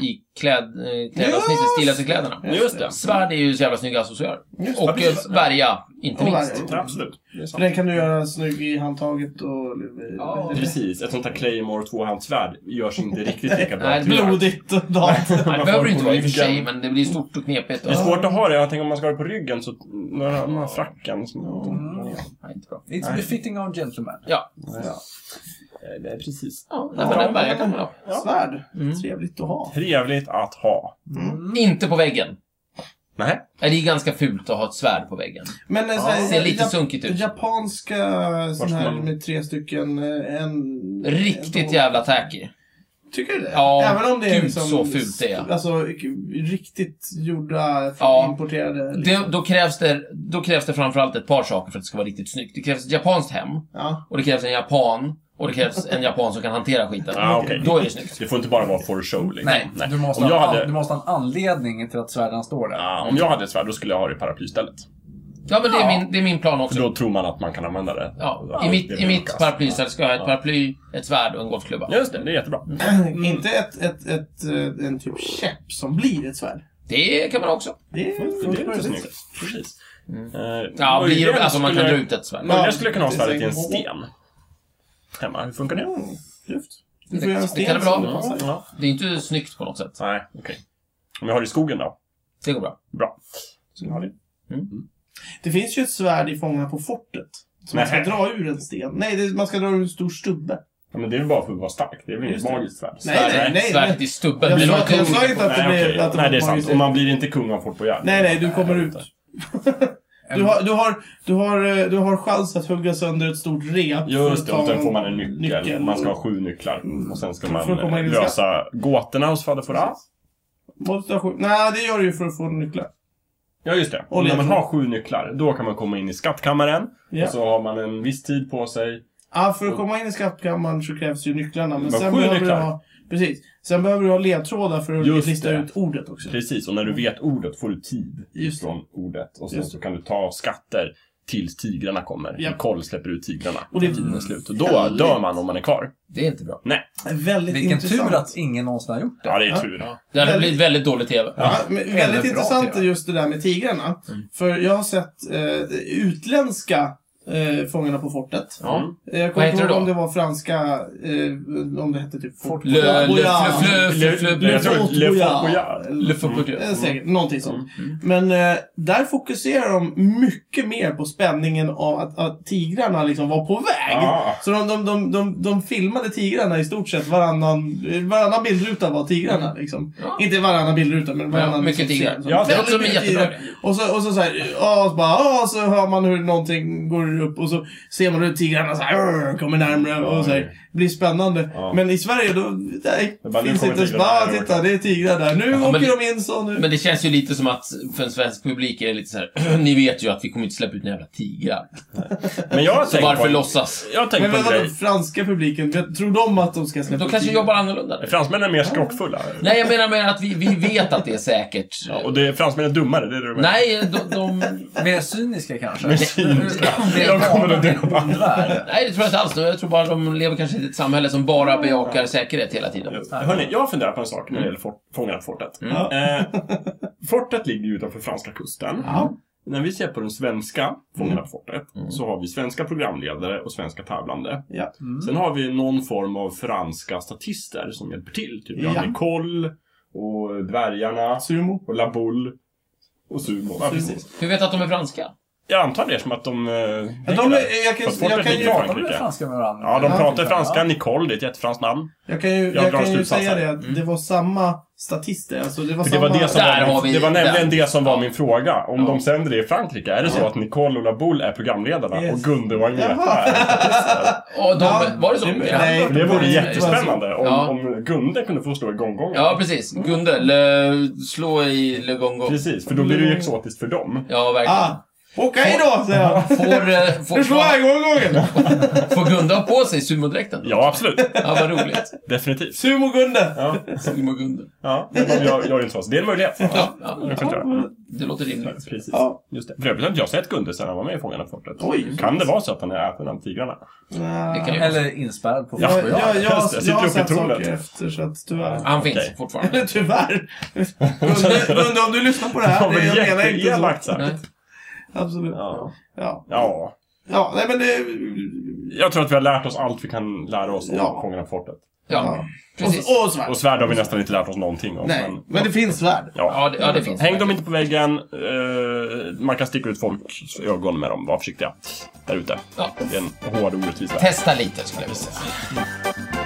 Speaker 4: I kläd, eh, klädavsnittet Stillaste kläderna.
Speaker 3: Just det.
Speaker 4: Svärd är ju så jävla snygga accessoarer.
Speaker 1: Just
Speaker 4: Och
Speaker 3: precis.
Speaker 4: eh, värja, inte
Speaker 1: Och
Speaker 4: minst.
Speaker 1: värja.
Speaker 3: Ja, Absolut.
Speaker 1: För den kan du göra snygg i handtaget och...
Speaker 2: Ja.
Speaker 3: Precis, ett sånt här Claymore och tvåhandsvärd görs inte riktigt lika bra. Typ.
Speaker 4: Nej,
Speaker 3: till.
Speaker 1: Blodigt och dant.
Speaker 4: Nej, det
Speaker 3: Man
Speaker 4: behöver
Speaker 3: får
Speaker 4: det inte
Speaker 3: på
Speaker 4: vara i och för
Speaker 3: ryggen.
Speaker 4: sig, men det blir stort och knepigt. Och,
Speaker 3: Det är svårt att ha det. Jag tänker om man ska ha det på ryggen så... Några, den här fracken som...
Speaker 4: Nej, inte bra.
Speaker 2: It's befitting of gentlemen.
Speaker 4: Ja,
Speaker 3: Eh, det är Precis.
Speaker 4: ja nej, men en värja kan man ha.
Speaker 1: Svärd. Trevligt att ha.
Speaker 3: Trevligt att ha.
Speaker 4: Mm.
Speaker 2: Mm.
Speaker 4: Inte på väggen.
Speaker 3: Nej.
Speaker 4: Nej, Det är ganska fult att ha ett svärd på väggen.
Speaker 1: Men eh, ja,
Speaker 4: Det ser lite sunkigt ut.
Speaker 1: Japanska sån
Speaker 3: ska
Speaker 1: här
Speaker 3: man-
Speaker 1: med tre stycken, eh, en...
Speaker 4: Riktigt
Speaker 1: en-
Speaker 4: jävla tacky.
Speaker 1: Tycker du det?
Speaker 4: Ja,
Speaker 1: Även om det är
Speaker 4: gud,
Speaker 1: liksom,
Speaker 4: så fult det är.
Speaker 1: Alltså, riktigt gjorda,
Speaker 4: Ja.
Speaker 1: importerade. Liksom.
Speaker 4: Det, då, krävs det, då krävs det framförallt ett par saker för att det ska vara riktigt snyggt. Det krävs ett japanskt hem.
Speaker 1: Ja.
Speaker 4: Och det krävs en japan. Och det krävs en japan som kan hantera skiten.
Speaker 1: Ah,
Speaker 3: Ja, okej.
Speaker 4: Då är det snyggt.
Speaker 3: Det får inte bara vara for show liksom.
Speaker 4: Nej,
Speaker 2: Du, måste
Speaker 3: om, jag
Speaker 2: ha, en-
Speaker 3: hade,
Speaker 2: du måste ha en anledning till att svärden står där.
Speaker 3: ja, om jag hade ett svärd, då skulle jag ha det i paraplystället.
Speaker 4: Ja, men det är min, det är min plan
Speaker 3: För
Speaker 4: också.
Speaker 3: då tror man att man kan använda det.
Speaker 4: Ja,
Speaker 3: det
Speaker 4: I mitt,
Speaker 3: blir
Speaker 4: i mitt
Speaker 3: kast.
Speaker 4: paraplyställ ska jag ha ett paraply, ett svärd och en golfklubba.
Speaker 3: Ja, Just det, det är jättebra.
Speaker 4: Mm.
Speaker 1: Inte ett, ett, ett, eh, en typ käpp som blir ett svärd.
Speaker 4: Det kan man också.
Speaker 1: Det är
Speaker 3: Det
Speaker 1: fullt
Speaker 3: är lite
Speaker 1: möjligt.
Speaker 3: snyggt. Precis. Eh,
Speaker 4: Mm. Ja,
Speaker 3: möjligen
Speaker 4: blir, alltså man kan
Speaker 3: skulle-
Speaker 4: dra ut ett svärd.
Speaker 3: Möjligen skulle jag kunna ha
Speaker 1: Ja,
Speaker 3: svärdet i en
Speaker 1: precis.
Speaker 3: sten. Hemma, hur funkar det?
Speaker 1: Mm, Luft. Du får göra en
Speaker 4: Det
Speaker 1: sten
Speaker 4: kan det
Speaker 1: som
Speaker 4: bra.
Speaker 1: passar.
Speaker 3: Ja.
Speaker 4: Det är inte snyggt på något sätt.
Speaker 3: Nej, okej. Om jag har det i skogen då?
Speaker 4: Det går bra.
Speaker 3: Bra.
Speaker 1: Så har det. Det finns ju ett svärd i Fångarna på fortet. Som man ska
Speaker 3: Nej.
Speaker 1: dra ur en sten. Nej, det, man ska dra ur en stor stubbe.
Speaker 3: Ja, men det är väl bara för att vara stark. Det är väl inget
Speaker 1: Just det.
Speaker 3: magiskt svärd?
Speaker 1: Nej, nej, nej, nej.
Speaker 4: Svärdet i stubben.
Speaker 1: Jag
Speaker 4: Blir
Speaker 1: sa-
Speaker 4: man
Speaker 1: jag sa
Speaker 4: kung?
Speaker 1: inte att det
Speaker 3: nej,
Speaker 1: blir...
Speaker 3: okej.
Speaker 1: att
Speaker 3: nej, det är
Speaker 1: man-
Speaker 3: sant. Och man blir inte kung av Fort Boyard.
Speaker 1: Nej, nej, du kommer ut.
Speaker 3: vänta.
Speaker 1: Du har, du, har, du, har, eh, du har chans att hugga sönder ett stort rep. för att
Speaker 3: Just det,
Speaker 1: ta
Speaker 3: och sen
Speaker 1: någon
Speaker 3: får man en nyckel. Man ska ha sju nycklar. Och sen ska
Speaker 1: Mm. För att
Speaker 3: man
Speaker 1: komma in i
Speaker 3: lösa gåtorna hos fader Fouras.
Speaker 1: Måste ha sju. Nej, det gör du ju för att få nycklar.
Speaker 3: Ja, just det.
Speaker 1: Och
Speaker 3: Och när man
Speaker 1: ledtråd.
Speaker 3: har sju nycklar, då kan man komma in i skattkammaren.
Speaker 1: Ja.
Speaker 3: Och så har man en viss tid på sig.
Speaker 1: Ja, för att komma in i skattkammaren så krävs ju nycklarna. Men
Speaker 3: Men
Speaker 1: sen
Speaker 3: sju
Speaker 1: behöver
Speaker 3: nycklar.
Speaker 1: du ha... Precis. Sen behöver du ha ledtrådar för att
Speaker 3: Just
Speaker 1: lista
Speaker 3: det.
Speaker 1: ut ordet också.
Speaker 3: Precis, och när du vet ordet får du tid
Speaker 1: Just det.
Speaker 3: från ordet. Och sen
Speaker 1: Just
Speaker 3: så kan du ta skatter tills tigrarna kommer.
Speaker 1: Ja.
Speaker 3: Ja. Koll släpper ut tigrarna.
Speaker 1: Och det- Mm.
Speaker 3: Och tiden är slut. Och då
Speaker 4: Härligt.
Speaker 3: dör man om man är kvar.
Speaker 4: Det är inte bra.
Speaker 1: Väldigt
Speaker 2: Vilken
Speaker 1: intressant.
Speaker 2: tur att ingen någonsin har gjort det.
Speaker 3: Ja, det är
Speaker 1: Ja.
Speaker 3: tur.
Speaker 4: Det hade blivit väldigt dålig TV.
Speaker 1: Ja, men väldigt
Speaker 2: bra
Speaker 1: intressant är
Speaker 2: TV.
Speaker 1: just det där med tigrarna.
Speaker 3: Mm.
Speaker 1: För jag har sett eh, utländska eh, Fångarna på fortet.
Speaker 3: Mm.
Speaker 4: Ja.
Speaker 1: Eh, Jag
Speaker 4: Vad
Speaker 1: kommer
Speaker 4: heter
Speaker 1: inte ihåg
Speaker 4: det då?
Speaker 1: om det var franska, eh, om det hette typ Fort
Speaker 4: Le, le,
Speaker 1: Boyard.
Speaker 4: le, le, le, le,
Speaker 3: Jag tror-
Speaker 1: Fort
Speaker 3: Le Fort
Speaker 1: Boyard.
Speaker 3: Boyard. Mm.
Speaker 1: Eller-
Speaker 4: le Fort Boyard.
Speaker 1: Eh, Säkert, någonting sånt. Men eh, där fokuserar de mycket mer på spänningen av att, att tigrarna liksom var på väg.
Speaker 3: Ja.
Speaker 1: Så de, de, de, de, de filmade tigrarna i stort sett varannan, varannan bildruta var tigrarna. Liksom.
Speaker 4: Ja.
Speaker 1: Inte varannan bildruta, men varannan.
Speaker 4: Ja, mycket
Speaker 1: liksom,
Speaker 4: tigrar.
Speaker 1: scen. Så
Speaker 3: Mm. Ja,
Speaker 4: det
Speaker 1: väldigt
Speaker 4: låter som en
Speaker 1: mycket
Speaker 4: jättebra
Speaker 1: tigrar.
Speaker 4: grej.
Speaker 1: Och så, och så, så här, ja, och så bara, ja, så hör man hur någonting går upp och så ser man hur tigrarna så här, "Arr", kommer närmare och så här, blir spännande.
Speaker 3: Ja.
Speaker 1: Men i Sverige då, nej,
Speaker 3: Det bara, nu
Speaker 1: finns
Speaker 3: kommer
Speaker 1: inte, så
Speaker 3: tigrarna
Speaker 1: bara
Speaker 3: här.
Speaker 1: titta, det är tigrar där. Nu
Speaker 4: Ja, men
Speaker 1: åker
Speaker 4: det-
Speaker 1: de in så nu.
Speaker 4: Men det känns ju lite som att för en svensk publik är det lite så här. ni vet ju att vi kommer inte släppa ut några jävla tigrar.
Speaker 3: Men jag har
Speaker 4: Så
Speaker 3: tänkt
Speaker 4: varför
Speaker 3: på...
Speaker 4: låtsas?
Speaker 3: Jag har tänkt
Speaker 1: Men
Speaker 3: på en
Speaker 1: vadå,
Speaker 3: grej.
Speaker 1: franska publiken, vet- tror de att de ska släppa
Speaker 4: De kanske
Speaker 1: tigrar?
Speaker 4: jobbar annorlunda.
Speaker 3: Fransmännen är mer skrockfulla.
Speaker 4: Nej, jag menar med att vi, vi vet att det är säkert.
Speaker 3: Ja, och det, fransmännen är dummare, det är det du menar.
Speaker 4: Nej, de, de...
Speaker 2: Mer cyniska kanske.
Speaker 3: Mer cyniska.
Speaker 2: Mer
Speaker 3: De kommer att
Speaker 2: vanliga
Speaker 3: döda.
Speaker 2: omvärld.
Speaker 4: Nej, det tror jag inte alls. Jag tror bara de lever kanske i ett samhälle som bara bejakar säkerhet hela tiden.
Speaker 3: Hörni, jag funderar på en sak när det gäller fort, fångarna på fortet.
Speaker 1: Ja.
Speaker 3: Eh, fortet ligger ju utanför franska kusten.
Speaker 1: Ja.
Speaker 3: När vi ser på den svenska Fångarna på fortet så har vi svenska programledare och svenska tävlande.
Speaker 1: Ja.
Speaker 3: Sen har vi någon form av franska statister som hjälper till. Typ
Speaker 1: Ja.
Speaker 3: ja. Nicole och Dvärgarna
Speaker 1: Sumo.
Speaker 3: och Laboule och Sumo. Ja, precis.
Speaker 4: Hur vet att de är franska?
Speaker 3: Jag antar det som att de... eh, hänger
Speaker 1: Ja, de
Speaker 3: där.
Speaker 1: är, jag, kan,
Speaker 3: Fast
Speaker 1: jag,
Speaker 3: fortet
Speaker 1: kan
Speaker 3: ligger
Speaker 1: ju,
Speaker 3: i
Speaker 1: jag,
Speaker 3: Frankrike.
Speaker 2: Pratar de franska med varandra?
Speaker 3: Ja, de
Speaker 2: Ja,
Speaker 3: pratar
Speaker 2: typ,
Speaker 3: franska.
Speaker 2: ja.
Speaker 3: Nicole, det är ett jättefranskt namn.
Speaker 1: kan ju, jag
Speaker 3: Jag drar
Speaker 1: kan ju
Speaker 3: slutsatser. Mm.
Speaker 1: säga det att det var samma statister. Alltså det var
Speaker 3: För det
Speaker 1: samma...
Speaker 3: var, det som
Speaker 4: Där har
Speaker 3: var,
Speaker 4: vi
Speaker 3: min, det var
Speaker 4: den.
Speaker 3: nämligen det som var min fråga. Om
Speaker 4: Ja.
Speaker 3: de sänder det i Frankrike, är det så
Speaker 1: Ja.
Speaker 3: att Nicole och Laboule är programledarna
Speaker 1: Yes.
Speaker 3: och Gunde och Agneta
Speaker 1: Jaha.
Speaker 3: är statister?
Speaker 4: Och de,
Speaker 1: Ja,
Speaker 4: var det så?
Speaker 1: nej.
Speaker 3: Det vore
Speaker 1: Ja.
Speaker 3: jättespännande om,
Speaker 4: Ja.
Speaker 3: om Gunde kunde få slå i gonggongen.
Speaker 4: Ja, precis. Gunde, le, slå i Le Gongo.
Speaker 3: Precis, för då blir det ju exotiskt för dem.
Speaker 4: Ja, verkligen.
Speaker 1: Ah, okej då, säger jag.
Speaker 4: Får, eh,
Speaker 1: Nu
Speaker 4: får,
Speaker 1: slår jag
Speaker 4: får,
Speaker 1: igång gången.
Speaker 4: får Gunde ha på sig sumodräkten?
Speaker 3: Ja, absolut.
Speaker 4: Ja, vad roligt.
Speaker 3: Definitivt.
Speaker 1: Sumo Gunde.
Speaker 3: Ja,
Speaker 4: Sumo-Gunde.
Speaker 3: ja. Men man gör, gör ju inte så. Så Det är en möjlighet.
Speaker 4: Ja, ja,
Speaker 3: Jag kan inte göra.
Speaker 4: det låter rimligt.
Speaker 3: Precis.
Speaker 1: Ja.
Speaker 3: Just det. För övrigt har inte jag sett Gunde sedan han var med i Fångarna på fortet.
Speaker 1: Oj.
Speaker 3: Kan det vara så att han är äten av tigrarna?
Speaker 1: Mm. Det
Speaker 4: kan ju-
Speaker 2: Eller inspärrad på
Speaker 1: Jag, jag,
Speaker 2: Fort
Speaker 1: jag,
Speaker 2: Boyard.
Speaker 1: jag,
Speaker 3: Just det, sitter
Speaker 1: har
Speaker 3: uppe i
Speaker 1: sett
Speaker 3: tornet.
Speaker 1: saker efter, så att tyvärr.
Speaker 4: Han finns
Speaker 3: Okej.
Speaker 4: fortfarande.
Speaker 1: tyvärr. Gunde, Gunde, om du lyssnar på det
Speaker 3: Det
Speaker 1: här.
Speaker 3: var
Speaker 1: Det,
Speaker 3: väl
Speaker 1: jag menar inte så.
Speaker 3: jätteelakt sagt.
Speaker 4: Nej.
Speaker 1: Absolut.
Speaker 3: Ja.
Speaker 1: Ja.
Speaker 3: ja.
Speaker 1: Ja, nej men det...
Speaker 3: Jag tror att vi har lärt oss allt vi kan lära oss om
Speaker 1: Ja.
Speaker 3: Fångarna på fortet.
Speaker 4: Ja, precis.
Speaker 1: Och, och svärd.
Speaker 3: Och svärd har vi nästan inte lärt oss någonting om.
Speaker 1: Nej,
Speaker 3: men-
Speaker 1: men det finns svärd.
Speaker 4: Ja, det, ja, det finns.
Speaker 3: Häng dem inte på väggen. eh, man kan sticka ut folks ögon med dem. Var försiktiga. Där ute.
Speaker 4: Ja.
Speaker 3: Det är en hård och orättvis värld.
Speaker 4: Testa lite, skulle jag vilja säga.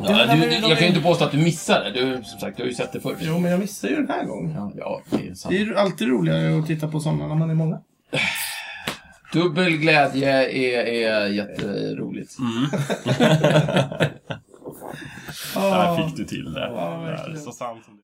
Speaker 4: Ja, du, du, jag kan ju inte påstå att du missar det. Du, som sagt, du har ju sett det förr.
Speaker 1: Jo, men jag missar ju den här gången.
Speaker 4: Ja, Ja, det är sant.
Speaker 1: Det är ju alltid roligare att titta på sådana när man är många.
Speaker 4: Dubbel glädje är, är jätteroligt.
Speaker 3: Där fick du till det.
Speaker 1: Ja, verkligen.
Speaker 3: Där, så sant som det.